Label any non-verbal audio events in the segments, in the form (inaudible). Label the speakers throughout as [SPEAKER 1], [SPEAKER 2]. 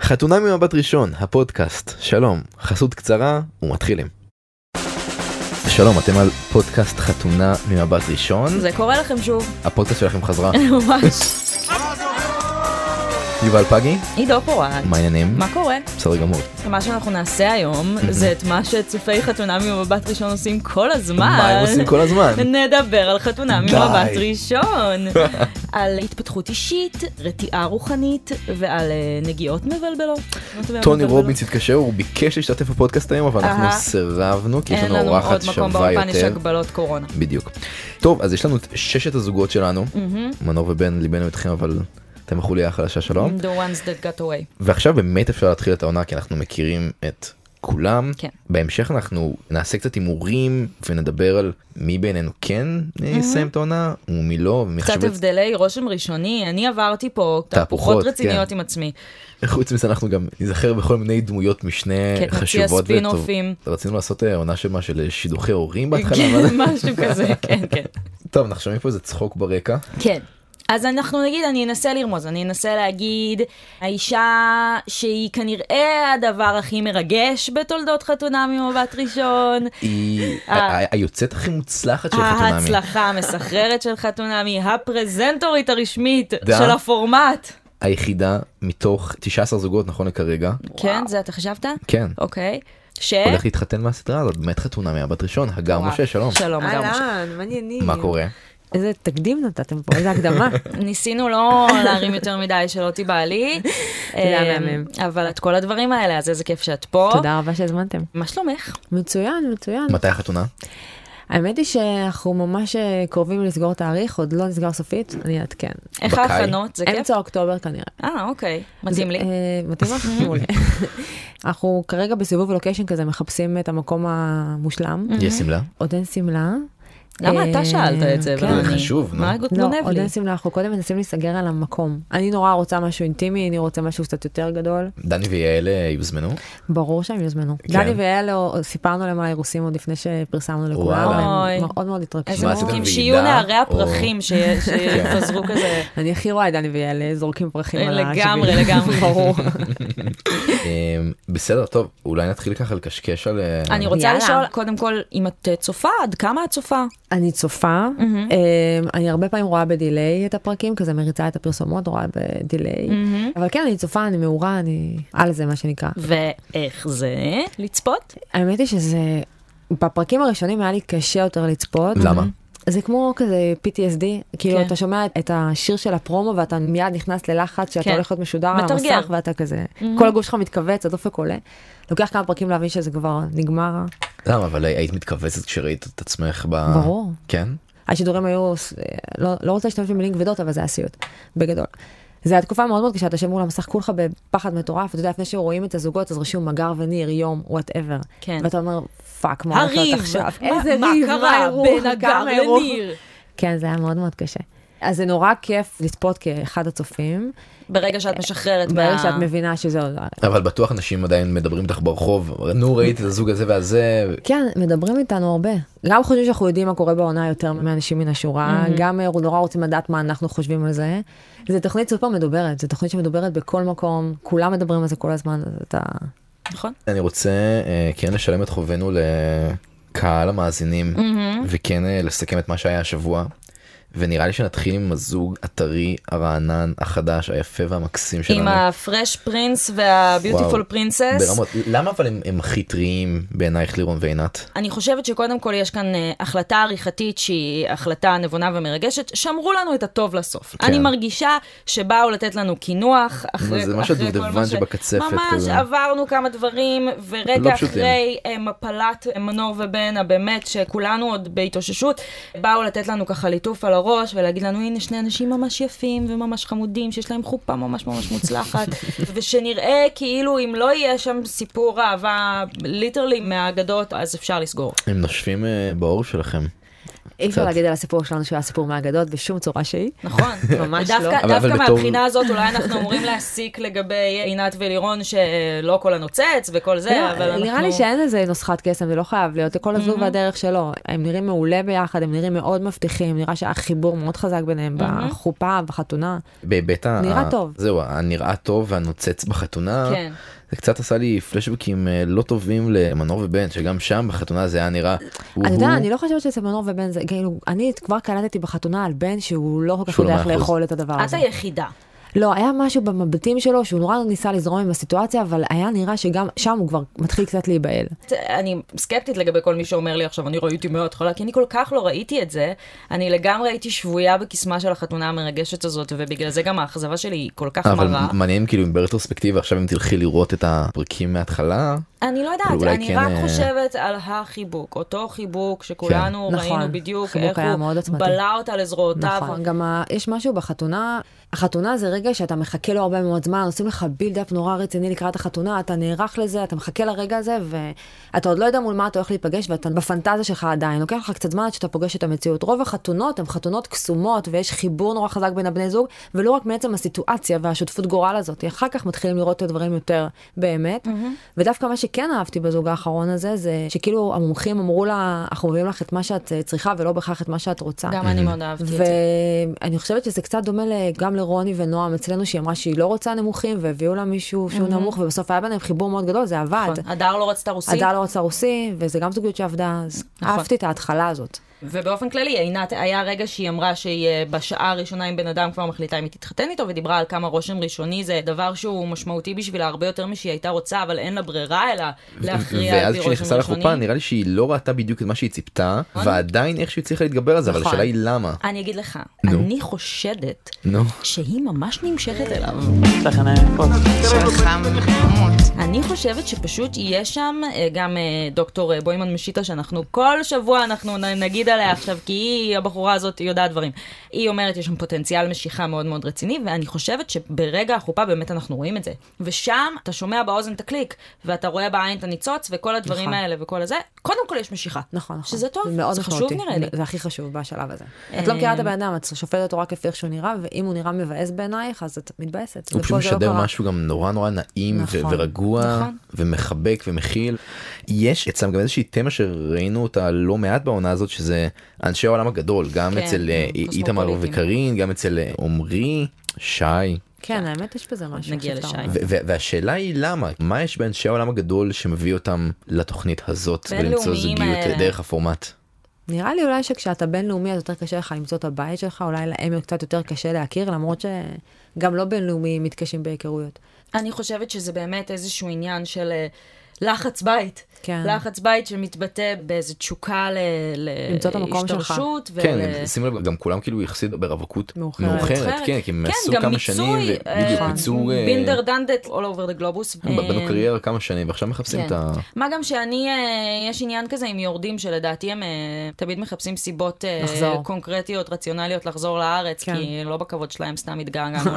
[SPEAKER 1] חתונה ממבט ראשון, הפודקאסט, שלום, חסות קצרה ומתחילים. שלום, אתם על פודקאסט חתונה ממבט ראשון,
[SPEAKER 2] זה קורה לכם
[SPEAKER 1] (laughs)
[SPEAKER 2] שוב,
[SPEAKER 1] הפודקאסט שלכם
[SPEAKER 2] (laughs)
[SPEAKER 1] חזרה.
[SPEAKER 2] ממש.
[SPEAKER 1] יובל פגי,
[SPEAKER 2] עידו פורט,
[SPEAKER 1] מה העניינים?
[SPEAKER 2] מה קורה?
[SPEAKER 1] בסדר גמור.
[SPEAKER 2] מה שאנחנו נעשה היום זה את מה שצופי חתונה ממבט ראשון עושים כל הזמן.
[SPEAKER 1] מה הם עושים כל הזמן?
[SPEAKER 2] נדבר על חתונה
[SPEAKER 1] די.
[SPEAKER 2] ממבט ראשון,
[SPEAKER 1] (laughs)
[SPEAKER 2] על התפתחות אישית, רתיעה רוחנית ועל אה, נגיעות מבלבלות.
[SPEAKER 1] טוני
[SPEAKER 2] מבלבלות.
[SPEAKER 1] רובינס התקשר, הוא ביקש להשתתף בפודקאסט היום, אבל אנחנו
[SPEAKER 2] לא אהה.
[SPEAKER 1] סירבנו, כי יש
[SPEAKER 2] אין
[SPEAKER 1] לנו
[SPEAKER 2] לנו עוד
[SPEAKER 1] אורחת
[SPEAKER 2] מקום
[SPEAKER 1] שווה
[SPEAKER 2] באולפן, יש
[SPEAKER 1] יותר.
[SPEAKER 2] הגבלות קורונה.
[SPEAKER 1] בדיוק. טוב, אז יש לנו את ששת הזוגות שלנו,
[SPEAKER 2] מהמם.
[SPEAKER 1] מנור ובן, ליבנו איתכם, אבל אתם החוליה החלשה שלום.
[SPEAKER 2] Mm-hmm. The ones that got away.
[SPEAKER 1] ועכשיו באמת אפשר להתחיל את העונה כי אנחנו מכירים את כולם.
[SPEAKER 2] כן.
[SPEAKER 1] בהמשך אנחנו נעשה קצת הימורים ונדבר על מי בינינו כן יסיים את העונה ומי לא. ומי
[SPEAKER 2] Mhm. קצת
[SPEAKER 1] חשוב את-
[SPEAKER 2] הבדלי רושם ראשוני, אני עברתי פה
[SPEAKER 1] תהפוכות,
[SPEAKER 2] תהפוכות
[SPEAKER 1] כן.
[SPEAKER 2] רציניות עם עצמי.
[SPEAKER 1] (laughs) חוץ מזה אנחנו גם ניזכר בכל מיני דמויות משנה
[SPEAKER 2] כן, נציע
[SPEAKER 1] חשובות.
[SPEAKER 2] ספין-אופים.
[SPEAKER 1] וטוב. רצינו לעשות אה, עונה של מה של שידוכי הורים בהתחלה. אבל- (laughs)
[SPEAKER 2] כן, (laughs) משהו כזה, כן, כן.
[SPEAKER 1] טוב אנחנו שומעים פה איזה צחוק ברקע.
[SPEAKER 2] כן. אז אנחנו נגיד, אני אנסה לרמוז, אני אנסה להגיד, האישה שהיא כנראה הדבר הכי מרגש בתולדות חתונה ממבט ראשון,
[SPEAKER 1] היא ה-
[SPEAKER 2] אה.
[SPEAKER 1] ה- היוצאת הכי מוצלחת של חתונמי.
[SPEAKER 2] ההצלחה המסחררת של חתונמי, הפרזנטורית הרשמית
[SPEAKER 1] דה.
[SPEAKER 2] של הפורמט.
[SPEAKER 1] היחידה מתוך 19 זוגות נכון לכרגע.
[SPEAKER 2] כן, זה אתה חשבת?
[SPEAKER 1] כן.
[SPEAKER 2] אוקיי. ש...
[SPEAKER 1] הולך להתחתן מהסדרה הזאת, באמת חתונה מהבת ראשון, הגר
[SPEAKER 2] וואו.
[SPEAKER 1] משה, שלום.
[SPEAKER 2] שלום, גם משה.
[SPEAKER 3] אהלן, מעניינים.
[SPEAKER 1] מה קורה?
[SPEAKER 3] איזה תקדים נתתם פה,
[SPEAKER 1] (laughs)
[SPEAKER 3] איזה הקדמה.
[SPEAKER 2] ניסינו לא להרים יותר מדי שלא
[SPEAKER 3] (laughs)
[SPEAKER 2] תיבעלי,
[SPEAKER 3] היה
[SPEAKER 2] אמ,
[SPEAKER 3] מהמם.
[SPEAKER 2] אבל את כל הדברים האלה, אז איזה כיף שאת פה.
[SPEAKER 3] תודה רבה שהזמנתם.
[SPEAKER 2] מה שלומך?
[SPEAKER 3] מצוין, מצוין.
[SPEAKER 1] מתי החתונה?
[SPEAKER 3] האמת היא שאנחנו ממש אה, קרובים לסגור תאריך, עוד לא נסגר סופית, אני אעדכן.
[SPEAKER 2] איך
[SPEAKER 1] בקיץ.
[SPEAKER 2] ההכנות? זה כיף?
[SPEAKER 3] אמצע אוקטובר כנראה.
[SPEAKER 2] אה, אוקיי. מתאים לי.
[SPEAKER 3] אה, מתאים לך?
[SPEAKER 2] (laughs)
[SPEAKER 3] מעולה. (laughs) אנחנו כרגע בסיבוב לוקיישן כזה מחפשים את המקום המושלם.
[SPEAKER 1] יש שמלה?
[SPEAKER 3] עוד אין שמלה.
[SPEAKER 2] Mm. למה
[SPEAKER 3] אה,
[SPEAKER 2] אתה שאלת את זה?
[SPEAKER 3] כן.
[SPEAKER 2] ולא
[SPEAKER 1] זה
[SPEAKER 2] אני?
[SPEAKER 1] חשוב, נו.
[SPEAKER 2] מה
[SPEAKER 3] לא,
[SPEAKER 2] גונב
[SPEAKER 3] עוד
[SPEAKER 2] לי?
[SPEAKER 3] אין שמלה, אנחנו קודם מנסים להיסגר על המקום. אני נורא רוצה משהו אינטימי, אני רוצה משהו קצת יותר גדול.
[SPEAKER 1] דני ויעל אה, יוזמנו?
[SPEAKER 3] ברור שהם יוזמנו.
[SPEAKER 1] כן.
[SPEAKER 3] דני ויעל, או- סיפרנו להם על האירוסים עוד לפני שפרסמנו לכולם,
[SPEAKER 1] וואלה.
[SPEAKER 2] אוי.
[SPEAKER 3] הם מאוד מאוד התרגשו.
[SPEAKER 2] איזה
[SPEAKER 1] מה, עשיתם
[SPEAKER 2] מוקים
[SPEAKER 1] ועידה,
[SPEAKER 2] שיהיו נערי
[SPEAKER 1] או- כן. (laughs)
[SPEAKER 2] הפרחים ש- שיפזרו
[SPEAKER 3] (laughs)
[SPEAKER 2] כזה.
[SPEAKER 3] אני הכי רואה את דני ויעל אה, זורקים פרחים על השביל. (laughs)
[SPEAKER 2] לגמרי, לגמרי.
[SPEAKER 3] ברור.
[SPEAKER 1] אה, בסדר, טוב, אולי נתחיל ככה לקשקש על... אה,
[SPEAKER 2] אני רוצה
[SPEAKER 3] יאללה.
[SPEAKER 2] לשאול, קודם כל, אם את אה, צופה, עד כמה את צופה?
[SPEAKER 3] אני צופה, אה, אני הרבה פעמים רואה בדיליי את הפרקים, כזה מריצה את הפרסומות, רואה בדיליי. אבל כן, אני צופה, אני מעורה, אני על זה, מה שנקרא.
[SPEAKER 2] ואיך זה? לצפות?
[SPEAKER 3] האמת היא שזה, בפרקים הראשונים היה לי קשה יותר לצפות.
[SPEAKER 1] למה?
[SPEAKER 3] זה כמו כזה PTSD, כאילו
[SPEAKER 2] כן.
[SPEAKER 3] אתה שומע את השיר של הפרומו ואתה מיד נכנס ללחץ שאתה
[SPEAKER 2] כן.
[SPEAKER 3] הולך להיות משודר על
[SPEAKER 2] מתרגל.
[SPEAKER 3] המסך ואתה כזה, כל הגוף שלך מתכווץ, הדופק עולה. לוקח כמה פרקים להבין שזה כבר נגמר.
[SPEAKER 1] למה, אבל הי- היית מתכווצת כשראית את עצמך ב...
[SPEAKER 3] ברור.
[SPEAKER 1] כן?
[SPEAKER 3] השידורים היו, אה, לא, לא רוצה להשתמש במילים כבדות, אבל זה היה סיוט, בגדול. זו הייתה תקופה מאוד מאוד קשה, אתה יושב מול המסך כולך בפחד מטורף, אתה יודע, לפני שרואים את הזוגות, אז רשום מגר וניר, יום, וואטאבר.
[SPEAKER 2] כן.
[SPEAKER 3] ואתה אומר, פאק, מה הולך
[SPEAKER 2] הריב!
[SPEAKER 3] להיות לא, עכשיו?
[SPEAKER 2] מה-
[SPEAKER 3] איזה
[SPEAKER 2] מה
[SPEAKER 3] ריב,
[SPEAKER 2] קרה
[SPEAKER 3] האירוע,
[SPEAKER 2] בין
[SPEAKER 3] כמה
[SPEAKER 2] הגר
[SPEAKER 3] אירוע.
[SPEAKER 2] לניר?
[SPEAKER 3] כן, זה היה מאוד מאוד קשה. אז זה נורא כיף לצפות כאחד הצופים,
[SPEAKER 2] ברגע שאת משחררת
[SPEAKER 3] אה, ברגע
[SPEAKER 2] מה-
[SPEAKER 3] שאת מבינה שזה עוד לא...
[SPEAKER 1] אבל בטוח אנשים עדיין מדברים איתך ברחוב, נו ראית את הזוג הזה והזה,
[SPEAKER 3] כן, מדברים איתנו הרבה. גם חושבים שאנחנו יודעים מה קורה בעונה יותר מאנשים מן השורה, גם אה, נורא רוצים לדעת מה אנחנו חושבים על זה. זו תוכנית סופר מדוברת, זו תוכנית שמדוברת בכל מקום, כולם מדברים על זה כל הזמן, אז אתה...
[SPEAKER 2] נכון?
[SPEAKER 1] אני רוצה אה, כן לשלם את חובנו לקהל המאזינים וכן אה, לסכם את מה שהיה השבוע. ונראה לי שנתחיל עם הזוג הטרי הרענן החדש היפה והמקסים שלנו.
[SPEAKER 2] עם הפרש פרינס והביוטיפול
[SPEAKER 1] כן, וואו,
[SPEAKER 2] פרינסס.
[SPEAKER 1] ברמות למה אבל הם, הם הכי טריים בעינייך לירון ועינת
[SPEAKER 2] אני חושבת שקודם כל יש כאן אה, החלטה עריכתית שהיא החלטה נבונה ומרגשת, שמרו לנו את הטוב לסוף.
[SPEAKER 1] כן.
[SPEAKER 2] כן. אני מרגישה שבאו לתת לנו קינוח אחרי,
[SPEAKER 1] זה ממש
[SPEAKER 2] אחרי
[SPEAKER 1] הדובדבן
[SPEAKER 2] כל מה
[SPEAKER 1] שבקצפת
[SPEAKER 2] ממש
[SPEAKER 1] כזה.
[SPEAKER 2] עברנו כמה דברים, ורגע
[SPEAKER 1] לא
[SPEAKER 2] לא
[SPEAKER 1] פשוטים.
[SPEAKER 2] אחרי אה, מפלת מנור ובן, הבאמת, שכולנו עוד בהתאוששות, באו לתת לנו ככה ליטוף על הראש ולהגיד לנו, הנה שני אנשים ממש יפים וממש חמודים, שיש להם חופה ממש ממש
[SPEAKER 1] (laughs)
[SPEAKER 2] מוצלחת, ושנראה כאילו אם לא יהיה שם סיפור אהבה ליטרלי מהאגדות, אז אפשר לסגור.
[SPEAKER 1] הם נושפים אה, בעור שלכם
[SPEAKER 3] אי אפשר
[SPEAKER 1] קצת.
[SPEAKER 3] להגיד על הסיפור שלנו שהוא היה סיפור מהאגדות בשום צורה שהיא.
[SPEAKER 2] נכון.
[SPEAKER 3] (laughs) ממש לא.
[SPEAKER 2] דווקא,
[SPEAKER 1] אבל-
[SPEAKER 2] דווקא
[SPEAKER 1] אבל בתור-
[SPEAKER 2] מהבחינה הזאת אולי אנחנו אמורים להסיק לגבי עינת ולירון שלא כל הנוצץ וכל זה,
[SPEAKER 3] לא,
[SPEAKER 2] אבל אנחנו...
[SPEAKER 3] נראה לי שאין איזה נוסחת קסם, זה לא חייב להיות, לכל הזוג והדרך שלו. הם נראים מעולה ביחד, הם נראים מאוד מבטיחים, נראה שהיה חיבור מאוד חזק ביניהם בחופה, בחתונה.
[SPEAKER 1] בהיבט ה...
[SPEAKER 3] נראה טוב.
[SPEAKER 1] זהו, הנראה טוב והנוצץ בחתונה.
[SPEAKER 2] כן.
[SPEAKER 1] זה קצת עשה לי פלשבקים אה, לא טובים למנור ובן, שגם שם בחתונה זה היה נראה...
[SPEAKER 3] אתה
[SPEAKER 1] הוא-
[SPEAKER 3] יודע, אני לא חושבת שזה מנור ובן זה, כאילו, אני כבר קלטתי בחתונה על בן שהוא לא כל כך
[SPEAKER 1] שהוא לא
[SPEAKER 3] יודע איך
[SPEAKER 1] מאה אחוז.
[SPEAKER 3] לאכול את הדבר
[SPEAKER 2] את
[SPEAKER 3] הזה.
[SPEAKER 2] היחידה.
[SPEAKER 3] לא, היה משהו במבטים שלו שהוא נורא ניסה לזרום עם הסיטואציה, אבל היה נראה שגם שם הוא כבר מתחיל קצת להיבהל.
[SPEAKER 2] אני סקפטית לגבי כל מי שאומר לי עכשיו, אני ראיתי מההתחלה, כי אני כל כך לא ראיתי את זה. אני לגמרי הייתי שבויה בקסמה של החתונה המרגשת הזאת, ובגלל זה גם האכזבה שלי היא כל כך
[SPEAKER 1] אבל
[SPEAKER 2] מרה.
[SPEAKER 1] מעניין כאילו אם ברטרוספקטיבה עכשיו אם תלכי לראות את הפרקים מההתחלה
[SPEAKER 2] אני לא יודעת,
[SPEAKER 1] אולי
[SPEAKER 2] אני
[SPEAKER 1] כן,
[SPEAKER 2] רק
[SPEAKER 1] אה,
[SPEAKER 2] חושבת על החיבוק, אותו חיבוק שכולנו
[SPEAKER 3] כן.
[SPEAKER 2] ראינו
[SPEAKER 3] נכון,
[SPEAKER 2] בדיוק
[SPEAKER 3] חיבוק
[SPEAKER 2] איך
[SPEAKER 3] היה
[SPEAKER 2] הוא
[SPEAKER 3] מאוד עוצמתי.
[SPEAKER 2] בלע אותה לזרועותיו.
[SPEAKER 3] נכון, גם ה... יש משהו בחתונה, החתונה זה רגע שאתה מחכה לו הרבה מאוד זמן, עושים לך בילדאפ נורא רציני לקראת החתונה, אתה נערך לזה, אתה מחכה לרגע הזה, ואתה עוד לא יודע מול מה אתה הולך להיפגש, ואתה בפנטזיה שלך עדיין, לוקח לך קצת זמן עד שאתה פוגש את המציאות. רוב החתונות הן חתונות קסומות, ויש חיבור נורא חזק בין הבני זוג, ולא רק מעצם הסיטואציה והשותפות גורל הזאת, אחר כך מתחילים לראות את הדברים יותר באמת. ודווקא מה שכן אהבתי בזוג האחרון הזה, זה שכאילו המומחים אמרו לה, אנחנו מביאים לך את מה שאת אה, צריכה, ולא בהכרח את מה שאת רוצה.
[SPEAKER 2] גם
[SPEAKER 1] Mhm.
[SPEAKER 2] אני מאוד אהבתי את זה.
[SPEAKER 3] ואני חושבת שזה קצת דומה ל- גם לרוני ונועם אצלנו, שהיא אמרה שהיא לא רוצה נמוכים, והביאו לה מישהו שהוא נמוך, ובסוף היה ביניהם חיבור מאוד גדול, זה עבד.
[SPEAKER 2] נכון. הדר לא רצתה רוסית,
[SPEAKER 3] עדה לא רצה רוסי, וזה גם זוגיות שעבדה, אז
[SPEAKER 2] נכון.
[SPEAKER 3] אהבתי את ההתחלה הזאת.
[SPEAKER 2] ובאופן כללי, עינת, היה רגע שהיא אמרה שהיא אה, בשעה הראשונה עם בן אדם כבר מחליטה אם היא תתחתן איתו, ודיברה על כמה רושם ראשוני זה דבר שהוא משמעותי בשבילה הרבה יותר משהיא הייתה רוצה, אבל אין לה ברירה אלא להכריע על
[SPEAKER 1] ואז
[SPEAKER 2] פי
[SPEAKER 1] כשהיא
[SPEAKER 2] רושם
[SPEAKER 1] נכנסה
[SPEAKER 2] ראשוני.
[SPEAKER 1] לחופה נראה לי שהיא לא ראתה בדיוק את מה שהיא ציפתה ועדיין איך שהיא הצליחה להתגבר על זה אבל
[SPEAKER 3] נכון.
[SPEAKER 1] השאלה היא למה
[SPEAKER 2] אני אגיד לך,
[SPEAKER 1] נו.
[SPEAKER 2] אני חושדת
[SPEAKER 1] נו
[SPEAKER 2] שהיא ממש נמשכת אליו.
[SPEAKER 4] יש לכם אה, פודקאסט.
[SPEAKER 5] שלחם חמוד.
[SPEAKER 2] אני חושבת שפשוט יהיה שם אה, גם אה, דוקטור אה, בוימן משיטה, שאנחנו כל שבוע אנחנו נ- נגיד עליה עכשיו, כי היא, הבחורה הזאת, היא יודעת דברים. היא אומרת, יש שם פוטנציאל משיכה מאוד מאוד רציני, ואני חושבת שברגע החופה באמת אנחנו רואים את זה. ושם אתה שומע באוזן את הקליק, ואתה רואה בעין את הניצוץ, וכל הדברים
[SPEAKER 3] נכון.
[SPEAKER 2] האלה וכל הזה, קודם כל יש משיכה.
[SPEAKER 3] נכון, נכון.
[SPEAKER 2] שזה טוב,
[SPEAKER 3] זה מאוד
[SPEAKER 2] זה חשוב
[SPEAKER 3] משמעותי.
[SPEAKER 2] נראה לי. אה,
[SPEAKER 3] זה הכי חשוב בשלב הזה. את לא מכירה את הבן אדם, את שופטת אותו רק לפי איך שהוא נראה, ואם הוא נראה מבאס בעינייך, אז את מתבאסת.
[SPEAKER 1] הוא
[SPEAKER 3] ופה
[SPEAKER 1] פשוט
[SPEAKER 3] זה לא
[SPEAKER 1] משדר
[SPEAKER 3] קרה.
[SPEAKER 1] משהו גם נורא נורא נעים ו-
[SPEAKER 3] נכון,
[SPEAKER 1] ורגוע
[SPEAKER 2] נכון.
[SPEAKER 1] ומחבק ומכיל. יש אצלם גם איזושהי תמה שראינו אותה לא מעט בעונה הזאת שזה אנשי העולם הגדול גם
[SPEAKER 2] כן,
[SPEAKER 1] אצל אה, אי- איתמר
[SPEAKER 2] קוסמופוליטים.
[SPEAKER 1] וקארין גם אצל אה, עמרי שי
[SPEAKER 3] כן, האמת יש בזה משהו.
[SPEAKER 2] נגיע
[SPEAKER 3] עכשיו
[SPEAKER 2] לשי.
[SPEAKER 3] אתה אומר.
[SPEAKER 1] ו- ו- והשאלה היא למה מה יש באנשי העולם הגדול שמביא אותם לתוכנית הזאת ולמצוא
[SPEAKER 2] בינלאומיים
[SPEAKER 1] זוגיות
[SPEAKER 2] האלה.
[SPEAKER 1] דרך הפורמט.
[SPEAKER 3] נראה לי אולי שכשאתה בינלאומי אז יותר קשה לך למצוא את הבית שלך, אולי להם קצת יותר קשה להכיר, למרות שגם לא בינלאומיים מתקשים בהיכרויות.
[SPEAKER 2] אני חושבת שזה באמת איזשהו עניין של אה, לחץ בית.
[SPEAKER 3] כן.
[SPEAKER 2] לחץ בית שמתבטא באיזו תשוקה ל... ל-
[SPEAKER 3] למצוא את המקום שלך.
[SPEAKER 2] להשתרשות ול...
[SPEAKER 1] כן שימו לב גם כולם כאילו יחסית ברווקות
[SPEAKER 3] מאוחרת.
[SPEAKER 1] מאוחרת כן כי הם עשו
[SPEAKER 2] גם
[SPEAKER 1] כמה
[SPEAKER 2] מיצוי,
[SPEAKER 1] שנים
[SPEAKER 2] אה,
[SPEAKER 1] ובדיוק ייצור
[SPEAKER 2] בינדר דנדט all over the globus. אה,
[SPEAKER 1] בנו קריירה כמה שנים ועכשיו
[SPEAKER 2] כן.
[SPEAKER 1] מחפשים את ה...
[SPEAKER 2] מה גם שאני, אה, יש עניין כזה עם יורדים שלדעתי הם אה, תמיד מחפשים סיבות אה,
[SPEAKER 3] לחזור.
[SPEAKER 2] קונקרטיות, רציונליות לחזור לארץ,
[SPEAKER 3] כן.
[SPEAKER 2] כי לא בכבוד שלהם סתם התגעגענו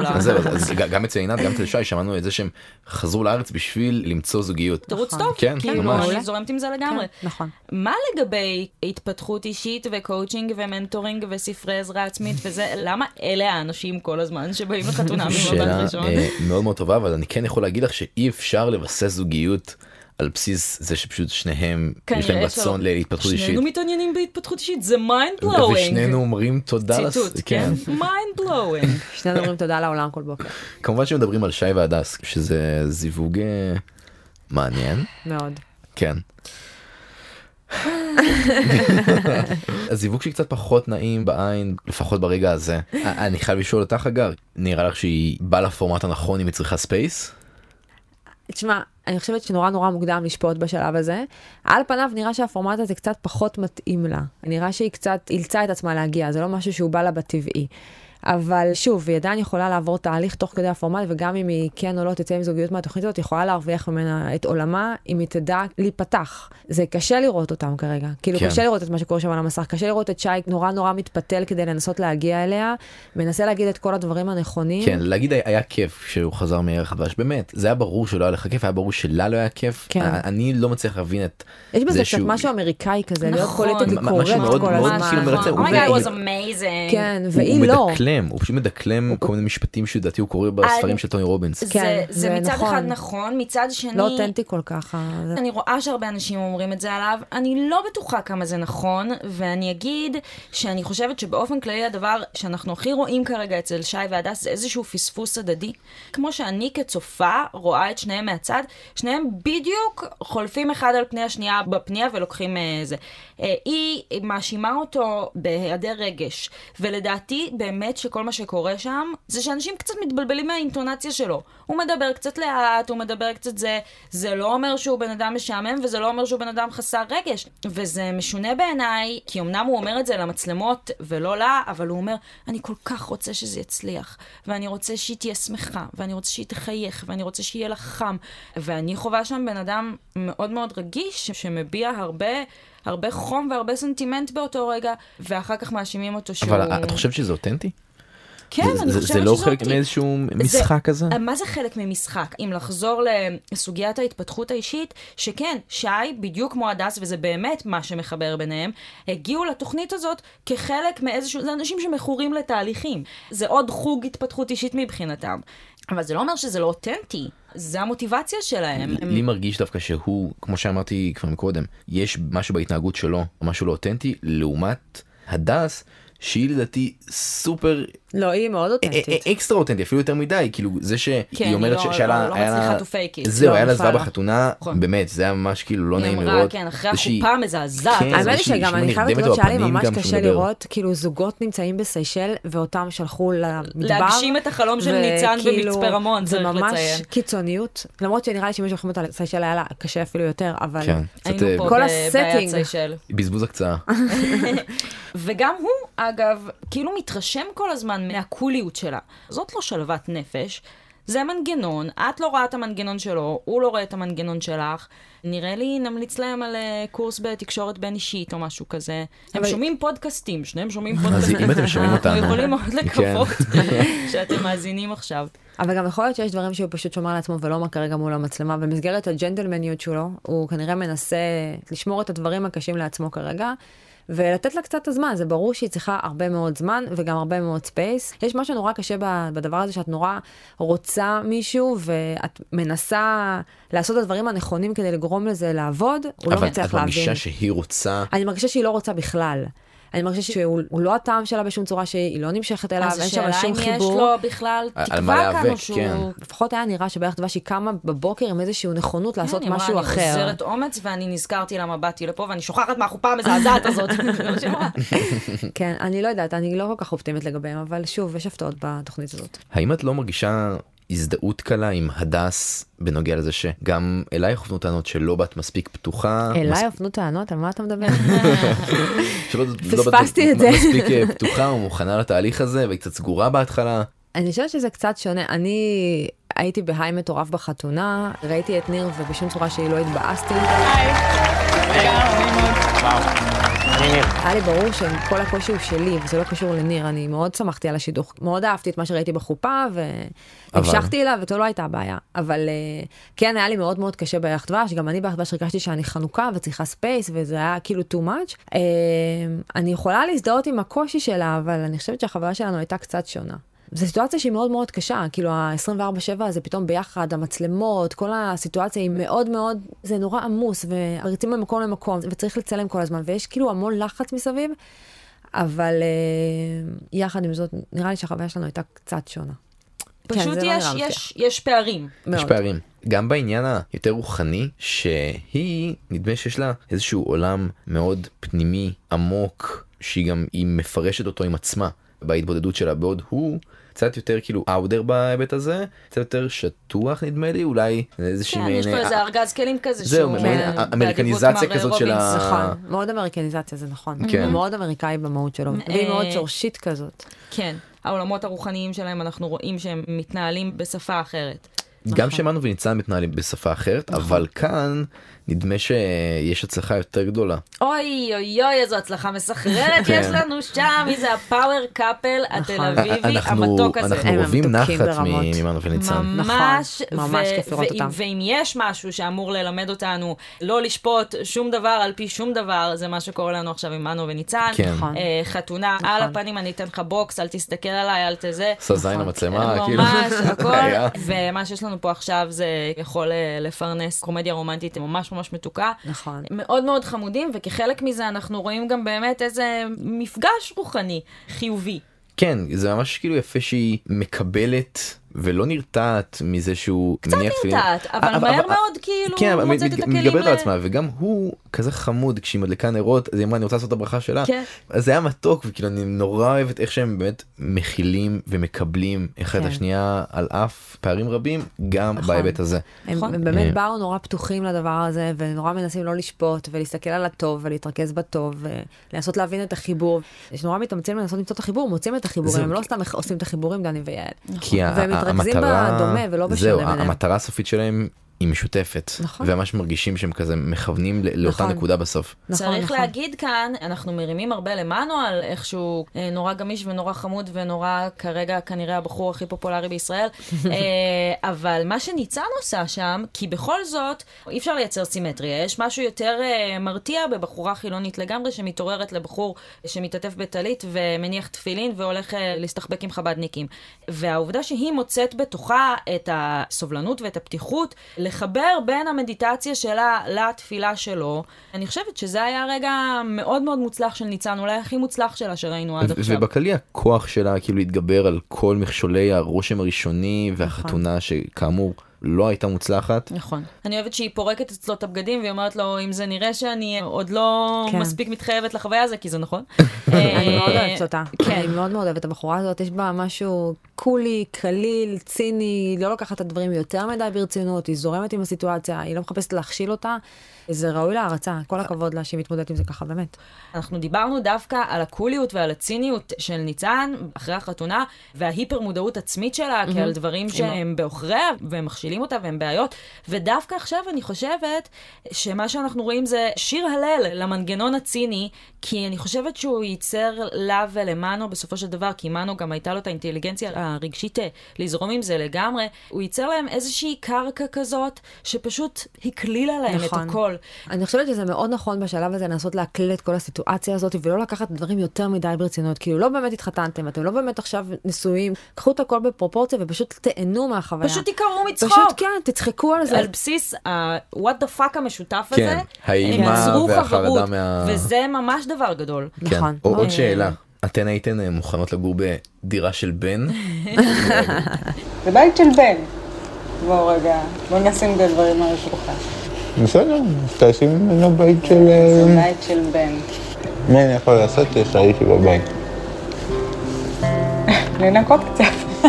[SPEAKER 1] (laughs) אז
[SPEAKER 2] לארץ.
[SPEAKER 1] זהו, אז ג- גם אצל עינת גם אצל שי שמענו את זה שהם חזרו לארץ בשביל למצוא זוגיות.
[SPEAKER 2] תירוץ טוב,
[SPEAKER 1] כן,
[SPEAKER 2] כאילו,
[SPEAKER 1] ממש.
[SPEAKER 2] אני זורמת עם זה לגמרי.
[SPEAKER 3] נכון. כן, נכון.
[SPEAKER 2] מה לגבי התפתחות אישית וקואוצ'ינג ומנטורינג וספרי עזרה עצמית וזה, למה אלה האנשים כל הזמן שבאים
[SPEAKER 1] (laughs)
[SPEAKER 2] לחתונה ממבט
[SPEAKER 1] שאלה
[SPEAKER 2] ראשון?
[SPEAKER 1] אה, מאוד מאוד טובה אבל אני כן יכול להגיד לך שאי אפשר לבסס זוגיות על בסיס זה שפשוט שניהם יש להם
[SPEAKER 2] כנראה
[SPEAKER 1] רצון
[SPEAKER 2] שלא.
[SPEAKER 1] להתפתחות אישית.
[SPEAKER 2] כן, שנינו מתעניינים בהתפתחות אישית, זה מיינד בלואוינג.
[SPEAKER 1] ושנינו אומרים תודה. לס-
[SPEAKER 2] ציטוט, כן? מיינד בלואוינג.
[SPEAKER 1] (laughs)
[SPEAKER 3] שנינו אומרים תודה לעולם כל בוקר,
[SPEAKER 2] כן.
[SPEAKER 1] כמובן שמדברים על שי והדס שזה זיווג אה, מעניין
[SPEAKER 3] מאוד.
[SPEAKER 1] כן. הזיווג שלי קצת פחות נעים בעין לפחות ברגע הזה. א- אני חייב לשאול אותך אגר נראה לך שהיא באה לפורמט הנכון אם היא צריכה ספייס?
[SPEAKER 3] תשמע, אני חושבת שנורא נורא מוקדם לשפוט בשלב הזה. על פניו נראה שהפורמט הזה קצת פחות מתאים לה. נראה שהיא קצת אילצה את עצמה להגיע, זה לא משהו שהוא בא לה בטבעי. אבל שוב, היא עדיין יכולה לעבור תהליך תוך כדי הפורמט, וגם אם היא כן או לא תצא עם זוגיות מהתוכנית הזאת, היא יכולה להרוויח ממנה את עולמה, אם היא תדע להיפתח. זה קשה לראות אותם כרגע. כאילו,
[SPEAKER 1] כן.
[SPEAKER 3] כן. קשה לראות את מה שקורה שם על המסך, קשה לראות את שי נורא נורא מתפתל כדי לנסות להגיע אליה, מנסה להגיד את כל הדברים הנכונים.
[SPEAKER 1] כן, להגיד היה- היה כיף כשהוא חזר מערך חדש, באמת, זה היה ברור שלא היה לך כיף, היה ברור שלה לא היה כיף.
[SPEAKER 3] כן.
[SPEAKER 1] א- אני לא מצליח להבין את
[SPEAKER 3] יש בזה
[SPEAKER 1] זה
[SPEAKER 3] קצת
[SPEAKER 1] שהוא-
[SPEAKER 3] משהו אמריקאי כזה, לא להיות
[SPEAKER 2] נכון. Oh
[SPEAKER 3] קולטת
[SPEAKER 1] מ- משהו
[SPEAKER 3] ביקורת
[SPEAKER 1] מאוד-
[SPEAKER 3] כל
[SPEAKER 1] מאוד
[SPEAKER 3] הזמן.
[SPEAKER 1] כאילו מרצה, הוא
[SPEAKER 2] אומייגאד,
[SPEAKER 1] ו-
[SPEAKER 2] was amazing.
[SPEAKER 3] כן,
[SPEAKER 1] הוא-
[SPEAKER 3] והיא
[SPEAKER 1] הוא
[SPEAKER 3] לא.
[SPEAKER 1] מדקלם, הוא פשוט מדקלם כל מיני משפטים שלדעתי הוא קורא בספרים של טוני רובינס.
[SPEAKER 2] זה,
[SPEAKER 3] כן,
[SPEAKER 2] זה,
[SPEAKER 3] זה
[SPEAKER 2] מצד
[SPEAKER 3] נכון.
[SPEAKER 2] אחד נכון, מצד שני...
[SPEAKER 3] לא אותנטי כל כך. ה- זה-
[SPEAKER 2] אני רואה שהרבה אנשים אומרים את זה עליו, אני לא בטוחה כמה זה נכון, ואני אגיד שאני חושבת שבאופן כללי הדבר שאנחנו הכי רואים כרגע אצל שי והדס זה איזשהו פספוס הדדי. כמו שאני כצופה רואה את שניהם מהצד, שניהם בדיוק חולפים אחד על פני השנייה בפנייה ולוקחים אה, זה. אה, היא מאשימה אותו בהיעדר רגש, ולדעתי באמת שכל מה שקורה שם זה שאנשים קצת מתבלבלים מהאינטונציה שלו. הוא מדבר קצת לאט, הוא מדבר קצת זה, זה לא אומר שהוא בן אדם משעמם, וזה לא אומר שהוא בן אדם חסר רגש. וזה משונה בעיניי, כי אמנם הוא אומר את זה למצלמות ולא לה, אבל הוא אומר, אני כל כך רוצה שזה יצליח, ואני רוצה שהיא תהיה שמחה, ואני רוצה שהיא תחייך, ואני רוצה שיהיה לה חם. ואני חווה שם בן אדם מאוד מאוד רגיש, שמביע הרבה, הרבה חום והרבה סנטימנט באותו רגע, ואחר כך מאשימים אותו שהוא...
[SPEAKER 1] אבל את חושבת שזה אותנטי?
[SPEAKER 2] כן,
[SPEAKER 1] זה-
[SPEAKER 2] אני
[SPEAKER 1] זה-
[SPEAKER 2] חושבת
[SPEAKER 1] זה לא
[SPEAKER 2] שזאת
[SPEAKER 1] חלק
[SPEAKER 2] היא.
[SPEAKER 1] מאיזשהו משחק כזה?
[SPEAKER 2] אה, מה זה חלק ממשחק? אם לחזור לסוגיית ההתפתחות האישית, שכן, שי, בדיוק כמו הדס, וזה באמת מה שמחבר ביניהם, הגיעו לתוכנית הזאת כחלק מאיזשהו... זה אנשים שמכורים לתהליכים. זה עוד חוג התפתחות אישית מבחינתם. אבל זה לא אומר שזה לא אותנטי, זה המוטיבציה שלהם. הם-
[SPEAKER 1] לי מרגיש דווקא שהוא, כמו שאמרתי כבר מקודם, יש משהו בהתנהגות שלו, משהו לא אותנטי, לעומת הדס, שהיא לדעתי סופר
[SPEAKER 3] לא, היא
[SPEAKER 1] אה,
[SPEAKER 3] מאוד אותנטית.
[SPEAKER 1] א- א- אקסטרה אותנטי אפילו יותר מדי כאילו זה
[SPEAKER 2] כן,
[SPEAKER 1] שהיא
[SPEAKER 2] היא
[SPEAKER 1] אומרת
[SPEAKER 2] לא-
[SPEAKER 1] ש-
[SPEAKER 2] לא-
[SPEAKER 1] שהיה לה-
[SPEAKER 2] לא
[SPEAKER 1] היה לה-
[SPEAKER 2] מצליחה to fake it.
[SPEAKER 1] זהו
[SPEAKER 3] לא,
[SPEAKER 1] היה לה
[SPEAKER 3] נפל
[SPEAKER 1] זוועה
[SPEAKER 3] לה.
[SPEAKER 1] בחתונה
[SPEAKER 2] נכון.
[SPEAKER 1] באמת זה היה ממש כאילו לא
[SPEAKER 2] היא
[SPEAKER 1] נעים
[SPEAKER 2] אמרה,
[SPEAKER 1] לראות.
[SPEAKER 2] כן, אחרי
[SPEAKER 1] זה שהיא-
[SPEAKER 2] החופה המזעזעת.
[SPEAKER 1] כן, זה
[SPEAKER 3] האמת היא
[SPEAKER 1] שהיא-
[SPEAKER 3] שגם
[SPEAKER 1] שהיא
[SPEAKER 3] אני חייבת
[SPEAKER 1] נרדמת
[SPEAKER 3] להודות שהיה לי
[SPEAKER 1] בפנים
[SPEAKER 3] ממש
[SPEAKER 1] גם כשהוא
[SPEAKER 3] קשה
[SPEAKER 1] מדבר.
[SPEAKER 3] לראות, כאילו זוגות נמצאים בסיישל ואותם שלחו למדבר.
[SPEAKER 2] להגשים את החלום של ניצן
[SPEAKER 3] וכאילו,
[SPEAKER 2] במצפה רמון, צריך
[SPEAKER 3] זה ממש
[SPEAKER 2] לציין.
[SPEAKER 3] קיצוניות, למרות שנראה לי שמי שהולכים אותה לסיישל היה לה קשה אפילו יותר, אבל...
[SPEAKER 1] כן, קצת
[SPEAKER 2] היינו
[SPEAKER 1] אה,
[SPEAKER 2] פה
[SPEAKER 3] כל
[SPEAKER 2] בבעיית
[SPEAKER 3] הסטינג.
[SPEAKER 2] סיישל.
[SPEAKER 1] בזבוז הקצאה.
[SPEAKER 2] וגם הוא, אגב, כאילו מתרשם כל הזמן מהקוליות שלה. זאת לא שלוות נפש, זה מנגנון, את לא רואה את המנגנון שלו, הוא לא רואה את המנגנון שלך. נראה לי נמליץ להם על אה, קורס בתקשורת בין אישית או משהו כזה. הם
[SPEAKER 3] אבל-
[SPEAKER 2] שומעים פודקאסטים, שניהם שומעים
[SPEAKER 1] אז
[SPEAKER 2] פודקאסטים.
[SPEAKER 1] אם אתם שומעים אותנו.
[SPEAKER 2] אנחנו יכולים מאוד
[SPEAKER 1] כן. (laughs)
[SPEAKER 2] לקוות שאתם מאזינים עכשיו.
[SPEAKER 3] אבל גם יכול להיות שיש דברים שהוא פשוט שומר לעצמו ולא אומר כרגע מול המצלמה. במסגרת הג'נטלמניות שלו, הוא כנראה מנסה לשמור את הדברים הקשים לעצמו כרגע. ולתת לה קצת את הזמן, זה ברור שהיא צריכה הרבה מאוד זמן וגם הרבה מאוד ספייס. יש משהו נורא קשה ב- בדבר הזה שאת נורא רוצה מישהו ואת מנסה לעשות את הדברים הנכונים כדי לגרום לזה לעבוד, הוא לא
[SPEAKER 1] אבל
[SPEAKER 3] מצליח
[SPEAKER 1] את
[SPEAKER 3] להבין.
[SPEAKER 1] מרגישה שהיא רוצה.
[SPEAKER 3] אני מרגישה שהיא לא רוצה בכלל. אני מרגישה שהוא הוא לא הטעם שלה בשום צורה שהיא לא נמשכת אליו,
[SPEAKER 2] אז
[SPEAKER 3] אין שם
[SPEAKER 2] השאלה אם
[SPEAKER 3] שום חיבור.
[SPEAKER 2] יש לו בכלל
[SPEAKER 1] על- על מה
[SPEAKER 2] תקווה כאן או
[SPEAKER 1] להיאבק,
[SPEAKER 2] שהוא...
[SPEAKER 1] כן.
[SPEAKER 3] לפחות היה נראה שבערך דבש היא קמה בבוקר עם איזושהי נכונות לעשות
[SPEAKER 2] כן, היא אמרה,
[SPEAKER 3] משהו
[SPEAKER 2] אני
[SPEAKER 3] אחר.
[SPEAKER 2] חוזרת אומץ ואני נזכרתי למה באתי לפה ואני שוכחת מהחופה המזעזעת
[SPEAKER 3] (laughs)
[SPEAKER 2] הזאת. (laughs) לא זה מה שהיא אמרה.
[SPEAKER 3] כן, אני לא יודעת, אני לא כל כך אופטימית לגביהם, אבל שוב, יש הפתעות בתוכנית הזאת.
[SPEAKER 1] האם את לא מרגישה הזדהות קלה עם הדס בנוגע לזה שגם אליי הופנו טענות שלא באת מספיק פתוחה.
[SPEAKER 3] אליי הופנו טענות, על מה אתה מדבר?
[SPEAKER 1] מס- שלא- לא באת
[SPEAKER 3] פספסתי את זה.
[SPEAKER 1] מספיק אה, פתוחה ומוכנה לתהליך הזה והיא קצת סגורה בהתחלה.
[SPEAKER 3] (laughs) אני חושבת שזה קצת שונה. אני הייתי בהיי מטורף בחתונה, ראיתי את ניר ובשום צורה שהיא לא התבאסתי. היה לי ברור שכל הקושי הוא שלי, וזה לא קשור לניר, אני מאוד שמחתי על השידוך, מאוד אהבתי את מה שראיתי בחופה, והמשכתי אליו, וזו לא הייתה הבעיה. אבל אה, כן, היה לי מאוד מאוד קשה בירח דבש, גם אני בירח דבש הרגשתי שאני חנוכה וצריכה ספייס, וזה היה כאילו too much. אה, אני יכולה להזדהות עם הקושי שלה, אבל אני חושבת שהחוויה שלנו הייתה קצת שונה. זו סיטואציה שהיא מאוד מאוד קשה, כאילו ה-24-7 הזה פתאום ביחד, המצלמות, כל הסיטואציה היא מאוד מאוד, זה נורא עמוס, ורצים ממקום למקום, וצריך לצלם כל הזמן, ויש כאילו המון לחץ מסביב, אבל אה, יחד עם זאת, נראה לי שהחוויה שלנו הייתה קצת שונה.
[SPEAKER 2] פשוט
[SPEAKER 3] כן, זה לא
[SPEAKER 2] יש,
[SPEAKER 3] נראה מפתיע.
[SPEAKER 2] יש, יש פערים.
[SPEAKER 1] יש
[SPEAKER 3] מאוד.
[SPEAKER 1] פערים. גם בעניין היותר רוחני, שהיא, נדמה שיש לה איזשהו עולם מאוד פנימי, עמוק, שהיא גם, היא מפרשת אותו עם עצמה בהתבודדות שלה, בעוד הוא קצת יותר כאילו אאודר בהיבט הזה, קצת יותר שטוח נדמה לי, אולי איזושהי
[SPEAKER 2] כן, יש פה
[SPEAKER 1] אה,
[SPEAKER 2] איזה ארגז כלים כזה
[SPEAKER 1] זהו,
[SPEAKER 2] שהוא...
[SPEAKER 1] מעין
[SPEAKER 2] אה,
[SPEAKER 1] אמריקניזציה
[SPEAKER 2] באדיבות מר
[SPEAKER 1] כזאת של ה-
[SPEAKER 2] רובינס.
[SPEAKER 3] נכון, מאוד אמריקניזציה, זה נכון.
[SPEAKER 1] כן.
[SPEAKER 2] אה,
[SPEAKER 3] הוא מאוד אמריקאי במהות שלו, והיא מאוד שורשית כזאת.
[SPEAKER 2] כן. העולמות הרוחניים שלהם, אנחנו רואים שהם מתנהלים בשפה אחרת.
[SPEAKER 1] גם
[SPEAKER 2] נכון.
[SPEAKER 1] שמענו וניצן מתנהלים בשפה אחרת, אבל כאן נדמה שיש הצלחה יותר גדולה.
[SPEAKER 2] אוי אוי אוי, איזו הצלחה מסחררת
[SPEAKER 1] כן.
[SPEAKER 2] יש לנו שם, מי זה הפאוור קאפל התל
[SPEAKER 3] נכון.
[SPEAKER 2] אביבי
[SPEAKER 1] אנחנו-
[SPEAKER 2] המתוק הזה.
[SPEAKER 1] אנחנו
[SPEAKER 3] הם
[SPEAKER 1] אוהבים
[SPEAKER 3] המתוקים
[SPEAKER 1] נחת
[SPEAKER 3] ברמות.
[SPEAKER 1] מ- ממנו וניצן.
[SPEAKER 2] ממש,
[SPEAKER 3] נכון, ממש
[SPEAKER 2] ו-
[SPEAKER 3] כיף לראות
[SPEAKER 2] ואם-
[SPEAKER 3] אותם.
[SPEAKER 2] ואם יש משהו שאמור ללמד אותנו לא לשפוט שום דבר על פי שום דבר, זה מה שקורה לנו עכשיו עם מנו וניצן.
[SPEAKER 1] כן.
[SPEAKER 3] נכון.
[SPEAKER 2] אה, חתונה,
[SPEAKER 3] נכון.
[SPEAKER 2] על הפנים, אני אתן לך בוקס, אל תסתכל עליי, אל תזה.
[SPEAKER 1] עשה זין למצלמה, כאילו.
[SPEAKER 2] ממש,
[SPEAKER 3] (laughs)
[SPEAKER 1] (laughs) היה.
[SPEAKER 2] הכל, ומה שיש לנו פה עכשיו זה יכול אה, לפרנס קומדיה רומנטית ממש ממש מתוקה.
[SPEAKER 3] נכון.
[SPEAKER 2] מאוד מאוד חמודים, וכחלק מזה אנחנו רואים גם באמת איזה מפגש רוחני חיובי.
[SPEAKER 1] כן, זה ממש כאילו יפה שהיא מקבלת ולא נרתעת מזה שהוא אה, קצת
[SPEAKER 2] נרתעת, אבל מהר מאוד כאילו
[SPEAKER 1] כן, אבל
[SPEAKER 2] מוצאת את
[SPEAKER 1] מתג-
[SPEAKER 2] הכלים
[SPEAKER 1] מתגברת
[SPEAKER 2] ל-
[SPEAKER 1] על עצמה, וגם הוא כזה חמוד כשהיא מדליקה נרות, אז היא אמרה אני רוצה לעשות את הברכה שלה.
[SPEAKER 2] כן.
[SPEAKER 1] אז זה היה מתוק, וכאילו אני נורא אוהבת איך שהם באמת מכילים ומקבלים אחד את
[SPEAKER 3] כן.
[SPEAKER 1] השנייה על אף פערים רבים, גם
[SPEAKER 3] נכון.
[SPEAKER 1] בהיבט הזה.
[SPEAKER 3] הם,
[SPEAKER 2] נכון.
[SPEAKER 3] הם
[SPEAKER 1] אה.
[SPEAKER 3] באמת באו נורא פתוחים לדבר הזה, ונורא מנסים לא לשפוט, ולהסתכל על הטוב, ולהתרכז בטוב, ולנסות להבין את החיבור. יש נורא מתאמצים לנסות למצוא את החיבור, מוצאים את החיבורים,
[SPEAKER 1] זהו,
[SPEAKER 3] הם
[SPEAKER 1] כי-
[SPEAKER 3] לא סתם עושים את החיבורים, דני ויעל.
[SPEAKER 1] כי ה-
[SPEAKER 3] והם
[SPEAKER 1] ה-
[SPEAKER 3] מתרכזים
[SPEAKER 1] המטרה-
[SPEAKER 3] בדומה ולא בשונה
[SPEAKER 1] זהו,
[SPEAKER 3] ביניהם.
[SPEAKER 1] המטרה הסופית שלהם היא משותפת.
[SPEAKER 3] נכון.
[SPEAKER 1] וממש מרגישים שהם כזה מכוונים ל- לאותה
[SPEAKER 3] נכון.
[SPEAKER 1] נקודה בסוף.
[SPEAKER 3] נכון,
[SPEAKER 2] צריך
[SPEAKER 3] נכון.
[SPEAKER 2] להגיד כאן, אנחנו מרימים הרבה למנו על איך שהוא אה, נורא גמיש ונורא חמוד ונורא כרגע כנראה הבחור הכי פופולרי
[SPEAKER 3] (laughs)
[SPEAKER 2] בישראל, אה, אבל מה שניצן עושה שם, כי בכל זאת אי אפשר לייצר סימטריה, יש משהו יותר אה, מרתיע בבחורה חילונית לגמרי שמתעוררת לבחור שמתעטף בטלית ומניח תפילין והולך אה, להסתחבק עם חבדניקים. והעובדה שהיא מוצאת בתוכה את הסובלנות ואת הפתיחות, לחבר בין המדיטציה שלה לתפילה שלו, אני חושבת שזה היה רגע מאוד מאוד מוצלח של ניצן, אולי הכי מוצלח שלה שראינו עד
[SPEAKER 1] ו-
[SPEAKER 2] עכשיו.
[SPEAKER 1] ובכללי הכוח שלה כאילו להתגבר על כל מכשולי הרושם הראשוני והחתונה שכאמור לא הייתה מוצלחת.
[SPEAKER 2] נכון. אני אוהבת שהיא פורקת אצלו את הבגדים והיא אומרת לו, אם זה נראה שאני עוד לא
[SPEAKER 3] כן.
[SPEAKER 2] מספיק מתחייבת לחוויה הזו, כי זה נכון.
[SPEAKER 3] (laughs) אני מאוד
[SPEAKER 2] אה,
[SPEAKER 3] אוהבת אותה. כן, אני מאוד מאוד אוהבת את הבחורה הזאת, יש בה משהו קולי, קליל, ציני, היא לא לוקחת את הדברים יותר מדי ברצינות, היא זורמת עם הסיטואציה, היא לא מחפשת להכשיל אותה. זה ראוי להערצה, כל הכבוד לה שהיא מתמודדת עם זה ככה, באמת.
[SPEAKER 2] אנחנו דיברנו דווקא על הקוליות ועל הציניות של ניצן אחרי החתונה, וההיפר מודעות עצמית שלה, mm-hmm. כעל דברים שהם בעוכריה, והם מכשילים אותה והם בעיות. ודווקא עכשיו אני חושבת שמה שאנחנו רואים זה שיר הלל למנגנון הציני, כי אני חושבת שהוא ייצר לה ולמנו בסופו של דבר, כי מנו גם הייתה לו את האינטליגנציה הרגשית אה, לזרום עם זה לגמרי, הוא ייצר להם איזושהי קרקע כזאת, שפשוט הקלילה להם את
[SPEAKER 3] נכון.
[SPEAKER 2] הכל.
[SPEAKER 3] אני חושבת שזה מאוד נכון בשלב הזה לנסות להקליל את כל הסיטואציה הזאת ולא לקחת את הדברים יותר מדי ברצינות. כאילו, לא באמת התחתנתם, אתם לא באמת עכשיו נשואים, קחו את הכל בפרופורציה ופשוט תהנו מהחוויה.
[SPEAKER 2] פשוט תיקראו מצחוק.
[SPEAKER 3] פשוט כן, תצחקו על זה.
[SPEAKER 2] על בסיס ה-what the fuck המשותף
[SPEAKER 1] כן,
[SPEAKER 2] הזה,
[SPEAKER 1] האימה
[SPEAKER 2] הם יצרו
[SPEAKER 1] והחרדה
[SPEAKER 2] חברות,
[SPEAKER 1] מה-
[SPEAKER 2] וזה ממש דבר גדול.
[SPEAKER 3] נכון.
[SPEAKER 1] כן. או- עוד
[SPEAKER 3] אה,
[SPEAKER 1] שאלה, אתן הייתן אה, מוכנות לגור בדירה של בן?
[SPEAKER 4] זה בית של בן. בואו רגע, בואו נשים את הדברים על השולחן.
[SPEAKER 6] בסדר, אז תעשי ממנו בית של...
[SPEAKER 4] זה
[SPEAKER 6] אה,
[SPEAKER 4] בית של בן.
[SPEAKER 6] מה אני יכול לעשות? (laughs) יש לה אישי בבית.
[SPEAKER 4] לנקות קצת.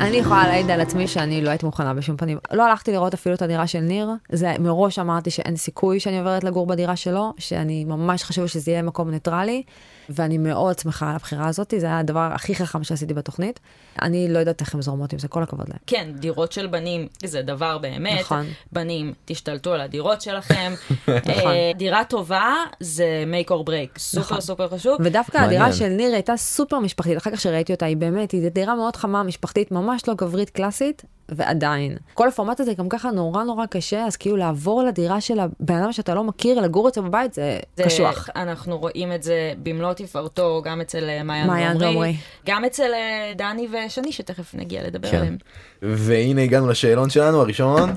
[SPEAKER 3] אני יכולה להעיד על עצמי שאני לא הייתי מוכנה בשום פנים. לא הלכתי לראות אפילו את הדירה של ניר, זה מראש אמרתי שאין סיכוי שאני עוברת לגור בדירה שלו, שאני ממש חשוב שזה יהיה מקום ניטרלי, ואני מאוד שמחה על הבחירה הזאת, זה היה הדבר הכי חכם שעשיתי בתוכנית. אני לא יודעת איך הן זורמות עם זה, כל הכבוד להם.
[SPEAKER 2] כן, דירות של בנים זה דבר באמת.
[SPEAKER 3] נכון.
[SPEAKER 2] בנים, תשתלטו על הדירות שלכם.
[SPEAKER 3] נכון.
[SPEAKER 2] אה, דירה טובה זה make or break, סופר סופר חשוב.
[SPEAKER 3] ודווקא
[SPEAKER 1] מעניין.
[SPEAKER 3] הדירה של ניר הייתה סופר משפחתית, אחר כך שראיתי אותה, היא באמת, היא דירה מאוד חמה, משפחתית, ממש לא גברית קלאסית, ועדיין. כל הפורמט הזה גם ככה נורא נורא קשה, אז כאילו לעבור לדירה של הבן אדם שאתה לא מכיר, לגור אצלו בבית, זה
[SPEAKER 2] זה-
[SPEAKER 3] קשוח.
[SPEAKER 2] אנחנו רואים את זה במלוא תפארתו, גם אצל אה,
[SPEAKER 3] מעיין
[SPEAKER 2] מעיין דומרי,
[SPEAKER 3] דומרי.
[SPEAKER 2] גם אצל אה, דני ושני, שתכף נגיע לדבר
[SPEAKER 1] כן.
[SPEAKER 2] עליהם.
[SPEAKER 1] והנה הגענו לשאלון שלנו הראשון.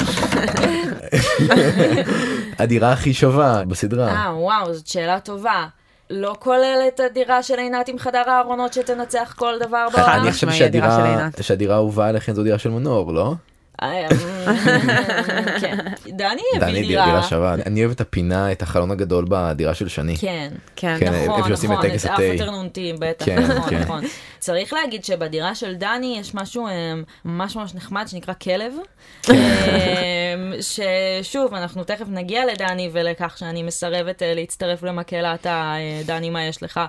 [SPEAKER 1] הדירה הכי שווה בסדרה.
[SPEAKER 2] אה, וואו, זאת שאלה טובה. לא כולל את הדירה של עינת עם חדר הארונות שתנצח כל דבר
[SPEAKER 1] (laughs)
[SPEAKER 2] בעולם?
[SPEAKER 1] אני חושב
[SPEAKER 3] משמעי, הדירה
[SPEAKER 1] שהדירה-
[SPEAKER 3] של עינת.
[SPEAKER 1] שהדירה האהובה עליכם זו דירה של מנור, לא?
[SPEAKER 2] אה,
[SPEAKER 1] (laughs)
[SPEAKER 2] כן. דני
[SPEAKER 1] דני
[SPEAKER 2] הביא
[SPEAKER 1] דירה דירה
[SPEAKER 2] דירה.
[SPEAKER 1] שווה. אני אוהב את הפינה, את החלון הגדול בדירה של שני.
[SPEAKER 2] כן.
[SPEAKER 3] כן.
[SPEAKER 1] כן. איפה
[SPEAKER 2] נכון,
[SPEAKER 1] שעושים את
[SPEAKER 2] נכון,
[SPEAKER 1] טקס
[SPEAKER 2] את
[SPEAKER 1] התה.
[SPEAKER 2] האפטרנונטים בטח,
[SPEAKER 1] כן,
[SPEAKER 2] נכון,
[SPEAKER 1] כן.
[SPEAKER 2] נכון. צריך להגיד שבדירה של דני יש משהו אמ, ממש ממש נחמד שנקרא כלב,
[SPEAKER 1] כן.
[SPEAKER 2] אמ, ששוב, אנחנו תכף נגיע לדני ולכך שאני מסרבת אה, להצטרף למקהלת הדני מה יש לך,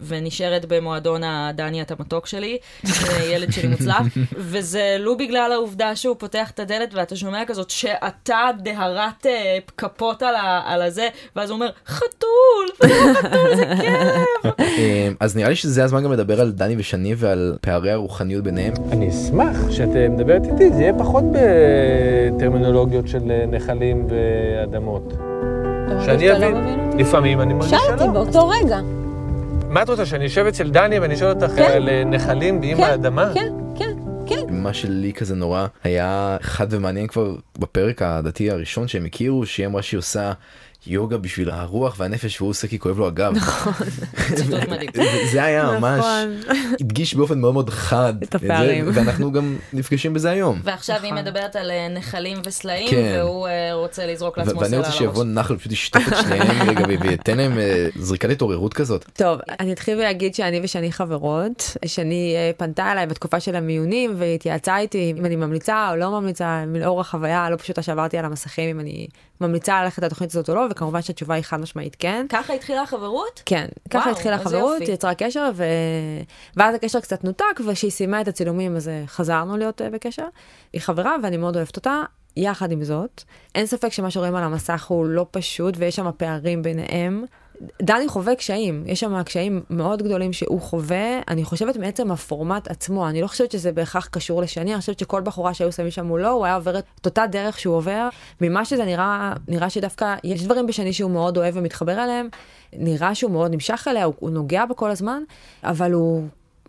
[SPEAKER 2] ונשארת במועדון הדני אתה מתוק שלי, אה, ילד שלי
[SPEAKER 1] (laughs)
[SPEAKER 2] מוצלח, וזה לו בגלל העובדה שהוא פותח את הדלת ואתה שומע כזאת שעתה דהרת אה, כפות על ה- על הזה, ואז הוא אומר, חתול,
[SPEAKER 1] (laughs) אמ, אז נראה לי שזה הזמן גם לדבר על דני ושני ועל פערי הרוחניות ביניהם.
[SPEAKER 7] אני אשמח שאת אה, מדברת איתי, זה יהיה פחות בטרמינולוגיות של אה, נחלים ואדמות.
[SPEAKER 8] אה,
[SPEAKER 7] שאני אבין. לפעמים אני מרגיש שלא.
[SPEAKER 8] לא שאלתי באותו רגע.
[SPEAKER 7] מה את רוצה, שאני אשב אצל דני ואני אשאל אותך
[SPEAKER 8] כן.
[SPEAKER 7] על אה, נחלים ועם
[SPEAKER 8] כן,
[SPEAKER 7] האדמה?
[SPEAKER 8] כן, כן, כן.
[SPEAKER 1] מה שלי כזה נורא היה חד ומעניין כבר בפרק הדתי הראשון שהם הכירו שהיא אמרה שהיא עושה יוגה בשביל הרוח והנפש והוא עושה כי כואב לו הגב. נכון.
[SPEAKER 2] ציטוט מדהים.
[SPEAKER 1] זה היה ממש
[SPEAKER 3] נכון.
[SPEAKER 1] הדגיש באופן מאוד מאוד חד
[SPEAKER 3] את
[SPEAKER 1] זה,
[SPEAKER 3] הפערים.
[SPEAKER 1] ואנחנו גם נפגשים בזה היום.
[SPEAKER 2] ועכשיו היא מדברת על אה, נחלים וסלעים,
[SPEAKER 1] נכון. כן.
[SPEAKER 2] והוא אה, רוצה לזרוק
[SPEAKER 1] ו-
[SPEAKER 2] לעצמו
[SPEAKER 1] ואני
[SPEAKER 2] סלע על
[SPEAKER 1] רוצה
[SPEAKER 2] הראש.
[SPEAKER 1] שיבוא נחל פשוט ישטוף את שניהם רגע ו- וייתן להם אה, זריקת התעוררות כזאת.
[SPEAKER 3] טוב, אני אתחיל ולהגיד שאני ושני חברות, שני אה, פנתה אליי בתקופה של המיונים והתייעצה איתי אם אני ממליצה או לא ממליצה, לאור החוויה הלא פשוטה שעברתי על המסכים, אם אני ממליצה ללכת לתוכנית הזאת או לא, וכמובן שהתשובה היא חד משמעית כן.
[SPEAKER 2] ככה התחילה החברות?
[SPEAKER 3] כן, ככה
[SPEAKER 2] וואו,
[SPEAKER 3] התחילה
[SPEAKER 2] איזה
[SPEAKER 3] החברות,
[SPEAKER 2] יופי.
[SPEAKER 3] יצרה קשר, ו... ואז הקשר קצת נותק, וכשהיא סיימה את הצילומים אז אה, חזרנו להיות אה, בקשר. היא חברה ואני מאוד אוהבת אותה. יחד עם זאת, אין ספק שמה שרואים על המסך הוא לא פשוט, ויש שם פערים ביניהם. דני חווה קשיים, יש שם קשיים מאוד גדולים שהוא חווה, אני חושבת מעצם הפורמט עצמו, אני לא חושבת שזה בהכרח קשור לשני, אני חושבת שכל בחורה שהיו שמים שם מולו, הוא היה עובר את אותה דרך שהוא עובר, ממה שזה נראה, נראה שדווקא יש דברים בשני שהוא מאוד אוהב ומתחבר אליהם, נראה שהוא מאוד נמשך אליה, הוא, הוא נוגע בה כל הזמן, אבל הוא